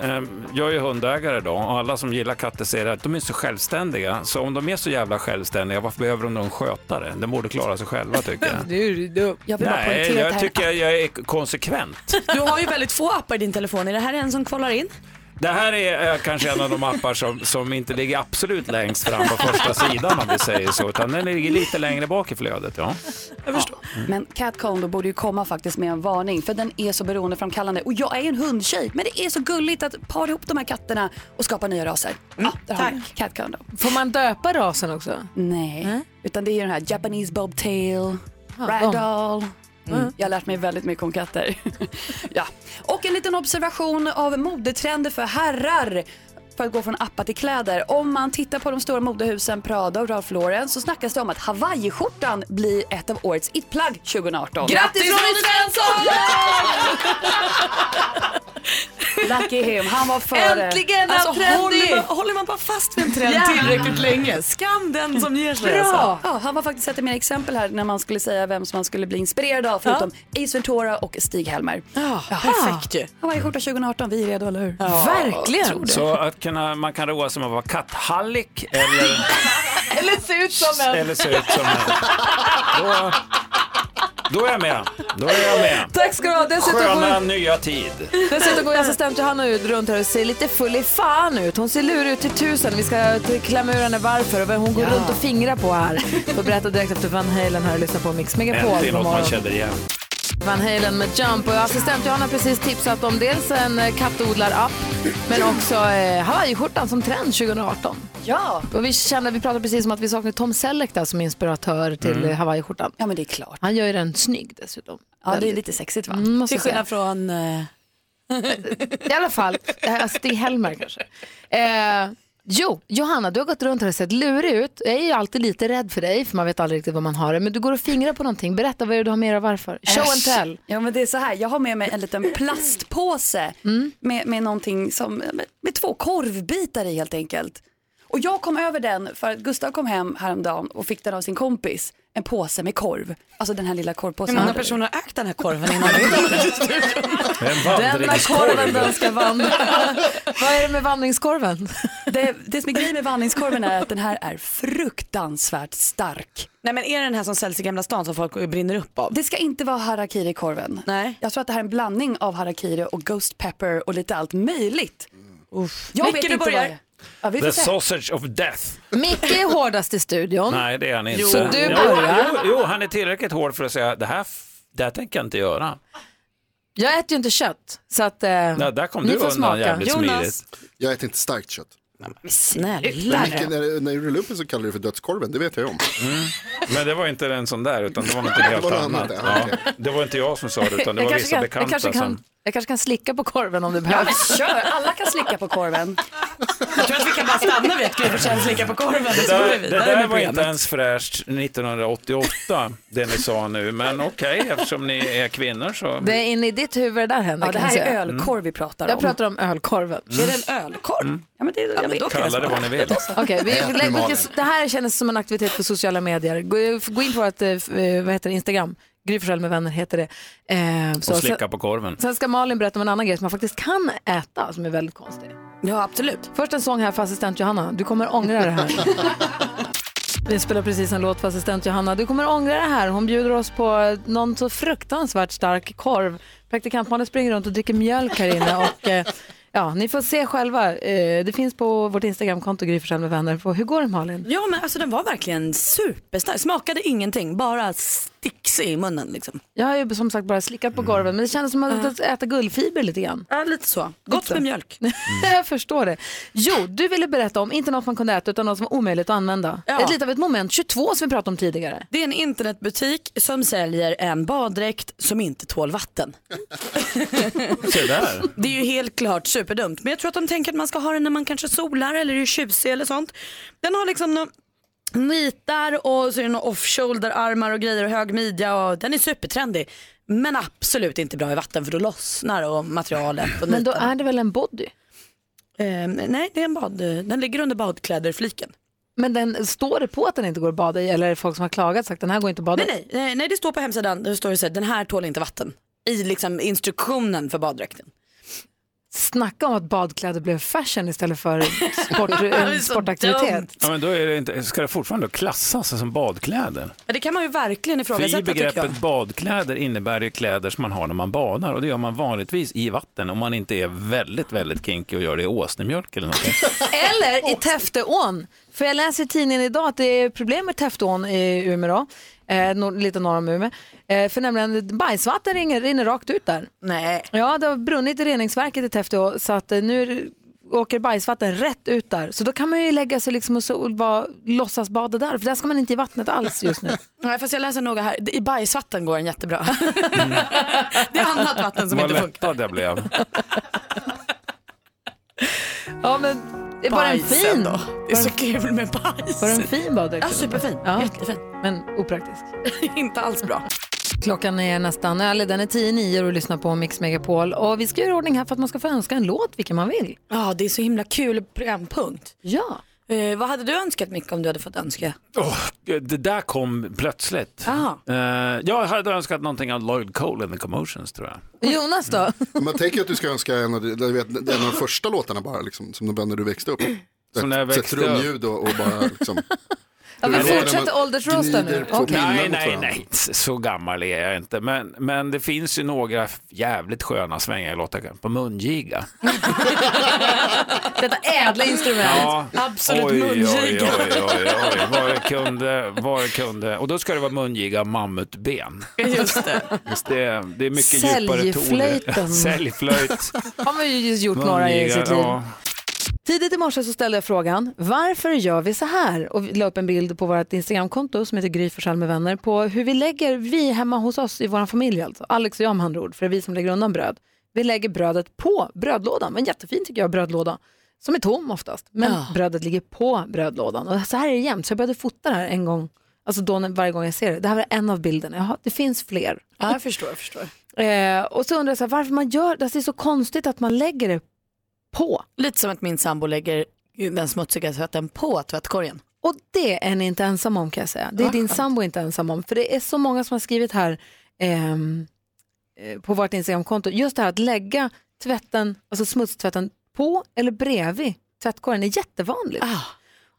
S23: jag är hundägare då och alla som gillar katter säger att de är så självständiga. Så om de är så jävla självständiga, varför behöver de någon skötare? De borde klara sig själva tycker jag.
S1: Du, du.
S24: Jag
S8: vill bara
S23: Nej,
S8: poängtera att det
S23: jag
S8: här
S23: tycker jag är konsekvent.
S8: Du har ju väldigt få appar i din telefon. Är det här en som kvalar in?
S23: Det här är eh, kanske en av de appar som, som inte ligger absolut längst fram på första sidan om vi säger så, utan den ligger lite längre bak i flödet. Ja.
S24: Mm. Men Cat Condo borde ju komma faktiskt med en varning för den är så beroendeframkallande. Och jag är en hundtjej men det är så gulligt att para ihop de här katterna och skapa nya raser. ja, där har ni Cat Condo.
S1: Får man döpa rasen också?
S24: Nej, utan det är ju den här Japanese Bobtail,
S1: Ja,
S24: Ragdoll. Mm. Jag har lärt mig väldigt mycket om katter. ja. Och en liten observation av modetrender för herrar för att gå från appar till kläder. Om man tittar på de stora modehusen Prada och Ralph Lauren så snackas det om att hawaiiskjortan blir ett av årets it-plagg 2018.
S8: Grattis, Ronny Svensson!
S24: Lucky him, han var före.
S8: Äntligen är
S24: Alltså,
S8: alltså, håller,
S24: håller
S8: man, håller man bara fast vid en trend
S24: Ja.
S8: tillräckligt länge? Skam den som ger sig.
S24: Bra!
S8: Alltså.
S24: Ja, han var faktiskt ett mer exempel här när man skulle säga vem som man skulle bli inspirerad av förutom Ace Ventura och Stig-Helmer. Ja,
S8: perfekt ju.
S24: Hawaiiskjorta 2018, vi är redo, eller hur? Tror det.
S23: Så att kunna, man kan roa sig med att vara katthallik eller,
S1: Eller se ut som en.
S23: eller se ut som en. Då, då är jag med. Då är jag med.
S1: Tack ska du ha. Dessutom
S23: Sköna
S1: går,
S23: nya tid.
S1: dessutom går ju assistent Johanna ut runt här och ser lite full i fan ut. Hon ser lurig ut till tusen. Vi ska till- klämma ur henne varför och vad hon går runt och fingrar på här. Får berätta direkt efter Van Halen här och lyssna på Mix Megapol.
S23: Äntligen
S1: God
S23: något man
S1: morgon.
S23: känner igen.
S1: Van Halen med Jump och assistent Johanna har precis tipsat om dels en eh, kattodlarapp men också eh, hawaiiskjortan som trend 2018.
S24: Ja.
S1: Och vi, känner, vi pratade precis om att vi saknar Tom Selleck där som inspiratör till
S24: Mm.
S1: mm. hawaiiskjortan.
S24: Ja men det är klart.
S1: Han gör ju den snygg dessutom.
S24: Ja, det är
S1: Väldigt.
S24: lite sexigt va?
S1: Mm, måste
S8: Till
S1: jag säga.
S8: skillnad från... eh,
S1: I alla fall, eh, alltså det är Helmer kanske. Eh, jo, Johanna, du har gått runt här och sett lurig ut. Jag är ju alltid lite rädd för dig, för man vet aldrig riktigt vad man har det. Men du går och fingrar på någonting. Berätta vad är det du har med dig och varför. Show and
S24: Äsch.
S1: tell.
S24: Ja, men det är så här. Jag har med mig en liten plastpåse
S1: Mm.
S24: med, med någonting som, med, med två korvbitar i helt enkelt. Och jag kom över den för att Gustav kom hem häromdagen och fick den av sin kompis. En påse med korv. Alltså den här lilla korvpåsen.
S8: Hur många personer har ägt den här korven innan?
S23: En
S1: Denna korven den
S23: vandringskorv.
S1: ska vandra. vad är det med vandringskorven?
S24: Det, det som är grejen med vandringskorven är att den här är fruktansvärt stark.
S8: Nej men är det den här som säljs i Gamla stan som folk brinner upp av?
S24: Det ska inte vara harakiri-korven.
S8: Nej.
S24: Jag tror att det här är en blandning av harakiri och ghost pepper och lite allt möjligt. Uff. Jag
S8: Micke,
S24: vet
S8: Mm. du
S24: inte vad
S8: börjar.
S24: jag- Ja, vi får
S23: The
S24: se.
S23: sausage of death.
S1: Micke är hårdast i studion.
S23: Nej, det är han inte.
S1: Jo, du
S23: Jo,
S1: börjar.
S23: Jo, jo, han är tillräckligt hård för att säga det här, f- det här tänker jag inte göra.
S1: Jag äter ju inte kött, så att eh,
S23: Ja, där kom
S1: ni
S23: du
S1: får
S23: undan
S1: smaka.
S23: jävligt smidigt.
S10: Jag äter inte starkt kött.
S8: Snälla.
S10: Men Micke, när, när du rullade upp den så kallade du det för dödskorven, det vet jag ju om.
S23: Mm. Men det var inte en sån där, utan det var något
S10: Det
S23: helt
S10: var något
S23: annat.
S10: annat, ja,
S23: Ja, det var inte jag som sa det, utan det var
S1: Jag kanske
S23: vissa
S1: kan- jag
S23: bekanta
S1: kanske kan-
S23: som...
S1: Jag kanske kan slicka på korven om det
S24: Ja, men
S1: behövs.
S24: kör, alla kan slicka på korven.
S8: Jag tror att vi kan bara stanna vid att Gry Forssell slickar på korven.
S23: Det
S8: så går vi
S23: där, det
S8: vidare
S23: där
S8: med
S23: var inte
S8: programmet.
S23: ens fräscht 1988, det ni sa nu. Men okej, eftersom ni är kvinnor så...
S1: Det är inne i ditt huvud där händer
S24: Ja, det
S1: kan jag
S24: här är
S1: säga.
S24: ölkorv vi pratar om.
S1: Jag pratar om ölkorven.
S23: Mm.
S24: Är det en ölkorv? Ja, men det, jag vet.
S23: Kalla det vad ni vill.
S1: Okej, vi,
S23: Ät med
S1: lägg-
S23: magen.
S1: det här känns som en aktivitet för sociala medier. Gå, gå in på vårt eh, f- eh, vad heter det, Instagram, Gry Forssell med vänner heter det. Eh,
S23: Och slicka på korven.
S1: Sen ska Malin berätta om en annan grej som man faktiskt kan äta som är väldigt konstig.
S24: Ja, absolut.
S1: Först en sång här för assistent Johanna. Du kommer ångra det här. Vi spelar precis en låt för assistent Johanna. Du kommer ångra det här. Hon bjuder oss på någon så fruktansvärt stark korv. Praktikant Malin springer runt och dricker mjölk här inne. Och, eh, ja, ni får se själva. Eh, det finns på vårt Instagramkonto, Gry Forssell med vänner. På, hur går det Malin?
S8: Ja men alltså den var verkligen superstark, smakade ingenting, bara sticks i munnen liksom.
S1: Jag har ju som sagt bara slickat på korven, men det kändes som att äta guldfiber lite grann.
S8: Ja lite så, gott
S1: Lite.
S8: med mjölk.
S1: jag förstår det. Jo, du ville berätta om, inte något man kunde äta, utan något som var omöjligt att använda.
S8: Ja.
S1: Ett, lite av ett moment 22 som vi pratade om tidigare.
S8: Det är en internetbutik som säljer en baddräkt som inte tål vatten.
S23: Se där.
S8: Det är ju helt klart superdumt. Men jag tror att de tänker att man ska ha den när man kanske solar eller är tjusig eller sånt. Den har liksom nå-
S2: nitar och så är det några off-shoulder-armar och grejer och hög midja och den är supertrendig. Men absolut inte bra i vatten för då lossnar och materialet. Och
S1: Men då
S2: nitarna.
S1: är det väl en body?
S2: Eh, nej, det är en bad, den ligger under badkläder-fliken.
S1: Men den, står det på att den inte går att bada i eller är det folk som har klagat och sagt den här går inte att bada
S2: Nej,
S1: i?
S2: nej, nej, nej, det står på hemsidan, det står det så här, den här tål inte vatten. I liksom instruktionen för baddräkten.
S1: Snacka om att badkläder blev fashion istället för sport, en sportaktivitet.
S23: Ja, men då är det inte, ska det fortfarande klassas som badkläder?
S2: Ja, det kan man ju
S23: För
S2: verkligen
S23: i
S2: ifrågasätta tycker jag.
S23: begreppet badkläder innebär det kläder som man har när man badar och det gör man vanligtvis i vatten om man inte är väldigt, väldigt kinky och gör det i åsnemjölk eller någonting.
S1: Eller i Täfteån. För jag läser i tidningen idag att det är problem med Täfteån i Umeå, då, eh, nor- lite norr om Umeå. Eh, för nämligen bajsvatten ringer, rinner rakt ut där.
S2: Nej.
S1: Ja, det har brunnit i reningsverket i Täfteå så att eh, nu är det- åker bajsvatten rätt ut där. Så då kan man ju lägga sig liksom och, så, och bara låtsas bada där, för där ska man inte i vattnet alls just nu.
S2: Nej, fast jag läser noga här. I bajsvatten går den jättebra. det är annat vatten som
S23: Vad
S2: inte funkar.
S23: lättad jag blev.
S1: Ja, men det var en
S2: Bajsen
S1: fin.
S2: då. Det är så kul med bajs.
S1: Var den fin baddräkt?
S2: Ja, superfin. Jättefin.
S1: Men opraktisk.
S2: inte alls bra.
S1: Klockan är nästan, eller den är tio nio och du lyssnar på Mix Megapol. Och vi ska göra i ordning här för att man ska få önska en låt, vilken man vill.
S2: Ja, det är så himla kul programpunkt.
S1: Ja.
S2: Eh, vad hade du önskat Micke om du hade fått önska?
S23: Åh, det där kom plötsligt.
S2: Ja.
S23: Eh, jag hade önskat någonting av Lloyd Cole and the Commotions tror jag.
S1: Jonas då?
S10: Man tänker att du ska önska en av, de- du vet, en av de första låtarna bara, liksom, som de band när du växte upp.
S23: Som när jag
S10: Ett- ett
S23: växte
S10: trumljud och, och bara liksom.
S1: Ja, vi
S23: Mm.
S10: Det var när
S1: fortsätter
S10: man
S1: åldersrosta
S10: gnider
S1: nu.
S10: på
S1: Okej.
S10: pinnar
S23: Nej,
S10: mot
S23: nej,
S10: varandra.
S23: nej, så gammal är jag inte. Men, men det finns ju några jävligt sköna svängar i låtar på mungiga.
S1: Detta ädla instrument.
S23: oj, Oj, oj, oj, oj. Vad det kunde, vad det kunde. Och då ska det vara mungiga mammutben.
S2: Just det.
S23: det, det är mycket djupare toner.
S1: Säljflöjten.
S23: Säljflöjt.
S1: Har man ju just gjort några i
S23: mungiga,
S1: sitt liv.
S23: ja.
S1: Tidigt i morse så ställde jag frågan, varför gör vi så här? Och vi la upp en bild på vårt Instagramkonto som heter Gry Forssell med vänner på hur vi lägger, vi hemma hos oss i vår familj alltså, Alex och jag med andra ord, för det är vi som lägger undan bröd. Vi lägger brödet på brödlådan, en jättefin tycker jag brödlåda, som är tom oftast, men
S2: Ja.
S1: brödet ligger på brödlådan. Och så här är det jämt, så jag började fota det här en gång, alltså då när, varje gång jag ser det. Det här var en av bilderna, Jaha, det finns fler.
S2: Ja, jag förstår, jag förstår.
S1: Eh, och så undrar jag så här, varför man gör, alltså det är så konstigt att man lägger det på.
S2: Lite som att min sambo lägger den smutsiga tvätten på tvättkorgen.
S1: Och det är ni inte ensam om kan jag säga. Det är
S2: Vad
S1: din
S2: skönt.
S1: sambo inte ensam om. För det är så många som har skrivit här ehm, eh, på vårt Instagramkonto, just det här att lägga tvätten, alltså smutstvätten på eller bredvid tvättkorgen är jättevanligt.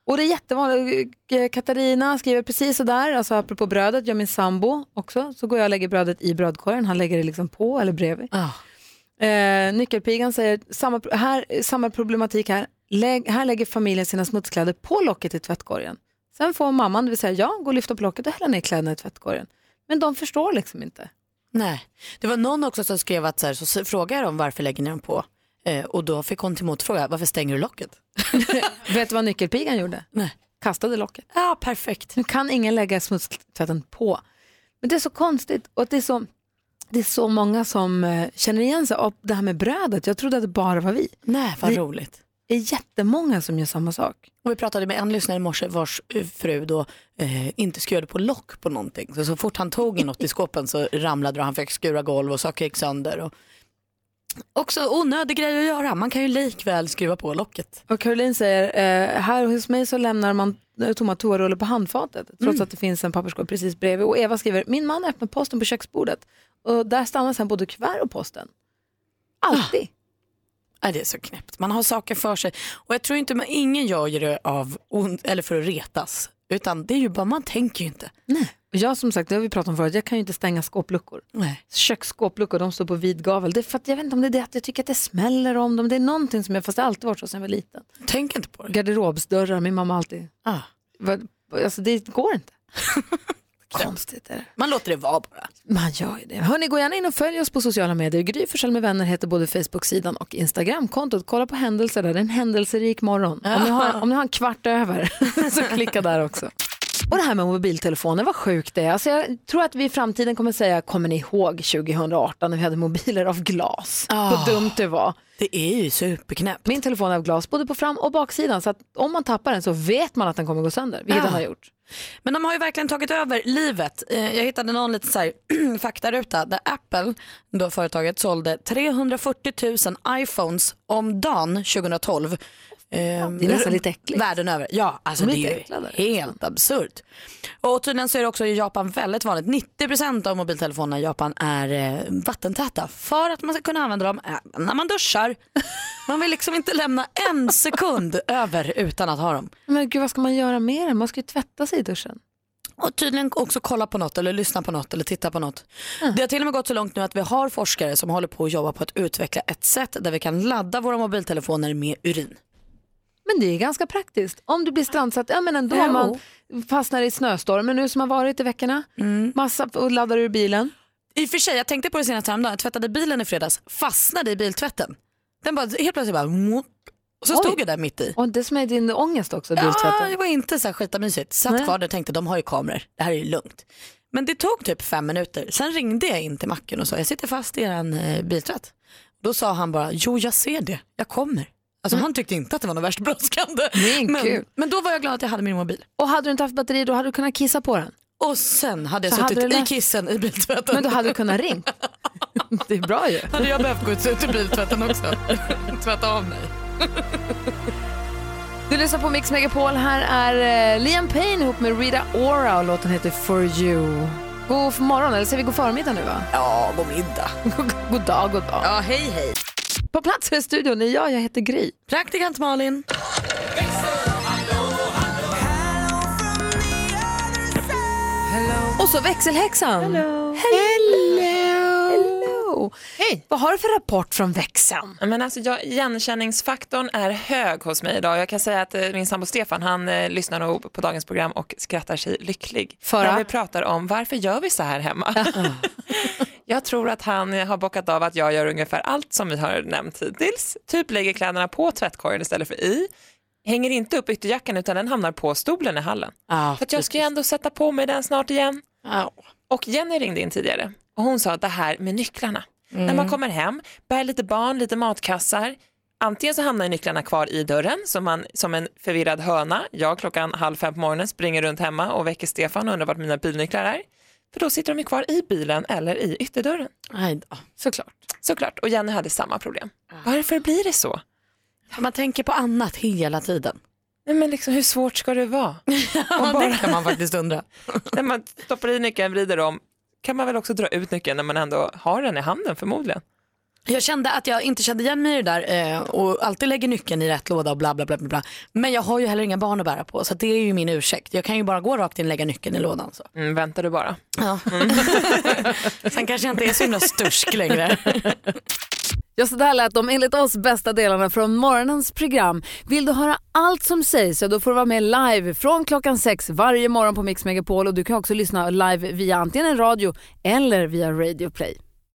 S1: Och det är jättevanligt. Eh, Katarina skriver precis sådär, alltså apropå brödet, gör min sambo också, så går jag och lägger brödet i brödkorgen, han lägger det liksom på eller bredvid. Eh, nyckelpigan säger samma, pro- här, samma problematik här. Lägg, här lägger familjen sina smutskläder på locket i tvättkorgen. Sen får mamman, det vill säga jag, gå och lyfta på locket och hälla ner kläderna i tvättkorgen. Men de förstår liksom inte.
S2: Nej, det var någon också som skrev att så, här, så s- frågade jag dem varför lägger ni dem på? Eh, och då fick hon till motfråga, varför stänger du locket?
S1: Vet du vad nyckelpigan gjorde?
S2: Nej.
S1: Kastade locket.
S2: Ja, perfekt.
S1: Nu kan ingen lägga smutstvätten på. Men det är så konstigt och att det är så, det är så många som eh, känner igen sig av det här med brödet. Jag trodde att det bara var vi.
S2: Nej, vad
S1: Vi-
S2: roligt.
S1: Det är jättemånga som gör samma sak.
S2: Och vi pratade med en lyssnare i morse vars eh, fru då eh, inte skurade på lock på någonting. Så, så fort han tog i något i skåpen så ramlade det och han fick skura golv och saker gick sönder. Och... Också onödig grej att göra, man kan ju likväl skruva på locket.
S1: Och Caroline säger, eh, här hos mig så lämnar man eh, tomma toarullar på handfatet trots
S2: Mm.
S1: att det finns en papperskorg precis bredvid. Och Eva skriver, min man öppnar posten på köksbordet och där stannar sen både kuvert och posten. Alltid.
S2: Nej, det är så knäppt. Man har saker för sig. Och jag tror inte man, ingen gör ju det av ond, eller för att retas. Utan det är ju bara, man tänker ju inte.
S1: Och jag som sagt, det har vi pratat om förut, jag kan ju inte stänga skåpluckor.
S2: Nej.
S1: Köksskåpluckor, de står på vid gavel. Det är för att jag vet inte om det är det att jag tycker att det smäller om dem. Det är någonting som jag, fast det har alltid varit så sedan jag var liten.
S2: Tänk inte på det.
S1: Garderobsdörrar, min mamma alltid.
S2: Ah.
S1: Vad- Alltså det går inte. Konstigt är det.
S2: Man låter det vara bara.
S1: Man gör ju det. Hörni, gå gärna in och följ oss på sociala medier. Gry Forssell med vänner heter både Facebook-sidan och Instagram-kontot. Kolla på händelser där, det är en händelserik morgon. Om ni har, om ni har en kvart över så klicka där också. Och det här med mobiltelefoner, vad sjukt det är. Alltså jag tror att vi i framtiden kommer säga, kommer ni ihåg 2018 när vi hade mobiler av glas?
S2: Ah.
S1: Vad dumt det var.
S2: Det är ju superknäppt.
S1: Min telefon är av glas, både på fram och baksidan. Så att om man tappar den så vet man att den kommer gå sönder, vilket
S2: Ja.
S1: den har gjort.
S2: Men de har ju verkligen tagit över livet. Eh, Jag hittade någon liten så här faktaruta där Apple, då företaget, sålde 340 000 iPhones om dagen 2012. Det
S1: det är nästan lite äckligt.
S2: Världen över. Ja, alltså
S1: De är
S2: det
S1: lite
S2: är
S1: äcklade.
S2: ju helt absurt. Och tydligen så är det också i Japan väldigt vanligt. 90% av mobiltelefonerna i Japan är eh, vattentäta för att man ska kunna använda dem även när man duschar. Man vill liksom inte lämna en sekund över utan att ha dem.
S1: Men gud, vad ska man göra med den? Man ska ju tvätta sig i duschen.
S2: Och tydligen också kolla på något eller lyssna på något eller titta på något. Det har till och med gått så långt nu att vi har forskare som håller på att jobba på att utveckla ett sätt där vi kan ladda våra mobiltelefoner med urin.
S1: Men det är ganska praktiskt. Om du blir strandsatt, ja men ändå,
S2: Jo.
S1: man fastnar i snöstormen nu som har varit i veckorna. Massa, och laddar ur bilen.
S2: I och för sig, jag tänkte på det senast häromdagen, jag tvättade bilen i fredags, fastnade i biltvätten. Den bara, helt plötsligt bara, och så stod jag där mitt i.
S1: Och det som är din ångest också,
S2: Ja,
S1: biltvätten.
S2: det var inte så här skitamysigt. Satt
S1: Nej.
S2: kvar där och tänkte, de har ju kameror, det här är ju lugnt. Men det tog typ fem minuter, sen ringde jag in till macken och sa, jag sitter fast i eran eh, biltvätt. Då sa han bara, jo jag ser det, jag kommer. Alltså
S1: Mm.
S2: han tyckte inte att det var något värst brådskande.
S1: kul.
S2: Men, men då var jag glad att jag hade min mobil.
S1: Och hade du inte haft batteri då hade du kunnat kissa på den.
S2: Och sen hade jag
S1: Så hade
S2: suttit
S1: du
S2: i
S1: lärt-
S2: kissen i biltvätten.
S1: Men då hade du kunnat ringa. Det är bra ju.
S2: Hade jag behövt gå ut ur biltvätten också. Tvätta av mig.
S1: Du lyssnar på Mix Megapol. Här är eh, Liam Payne ihop med Rita Ora och låten heter For You. God morgon, eller säger vi god förmiddag nu va?
S2: Ja, god middag.
S1: god dag, god dag.
S2: Ja, hej hej.
S1: På plats här i studion är jag, jag heter Gry.
S2: Praktikant Malin.
S1: Och så växelhäxan. Hello. Hello. Hej. Vad har du för rapport från växeln?
S9: Ja, Men alltså, jag, igenkänningsfaktorn är hög hos mig idag. Jag kan säga att eh, min sambo Stefan, han eh, lyssnar nog på dagens program och skrattar sig lycklig.
S1: För
S9: När
S1: att?
S9: vi pratar om varför gör vi så här hemma? jag tror att han eh, har bockat av att jag gör ungefär allt som vi har nämnt hittills. Typ lägger kläderna på tvättkorgen istället för i. Hänger inte upp ytterjackan utan den hamnar på stolen i hallen. för att jag ska ju ändå sätta på mig den snart igen. Och Jenny ringde in tidigare och hon sa att det här med nycklarna.
S7: Mm.
S9: När man kommer hem, bär lite barn, lite matkassar. Antingen så hamnar nycklarna kvar i dörren som, man, som en förvirrad höna. Jag klockan halv fem på morgonen springer runt hemma och väcker Stefan och undrar vart mina bilnycklar är. För då sitter de ju kvar i bilen eller i ytterdörren.
S1: Såklart.
S9: Såklart, och Jenny hade samma problem. Varför blir det så?
S2: Man tänker på annat hela tiden.
S9: Nej, men liksom, hur svårt ska det vara?
S2: Ja, det kan man faktiskt undra.
S9: när man stoppar i nyckeln, vrider om, kan man väl också dra ut nyckeln när man ändå har den i handen förmodligen.
S2: Jag kände att jag inte kände igen mig i det där eh, och alltid lägger nyckeln i rätt låda och bla bla bla. bla, bla. Men jag har ju heller inga barn att bära på så det är ju min ursäkt. Jag kan ju bara gå rakt in och lägga nyckeln i lådan. Så.
S9: Mm, väntar du bara.
S2: Sen kanske jag inte är så himla stursk längre.
S1: Ja, så där lät de enligt oss bästa delarna från morgonens program. Vill du höra allt som sägs så då får du vara med live från klockan sex varje morgon på Mix Megapol och du kan också lyssna live via antingen en radio eller via Radio Play.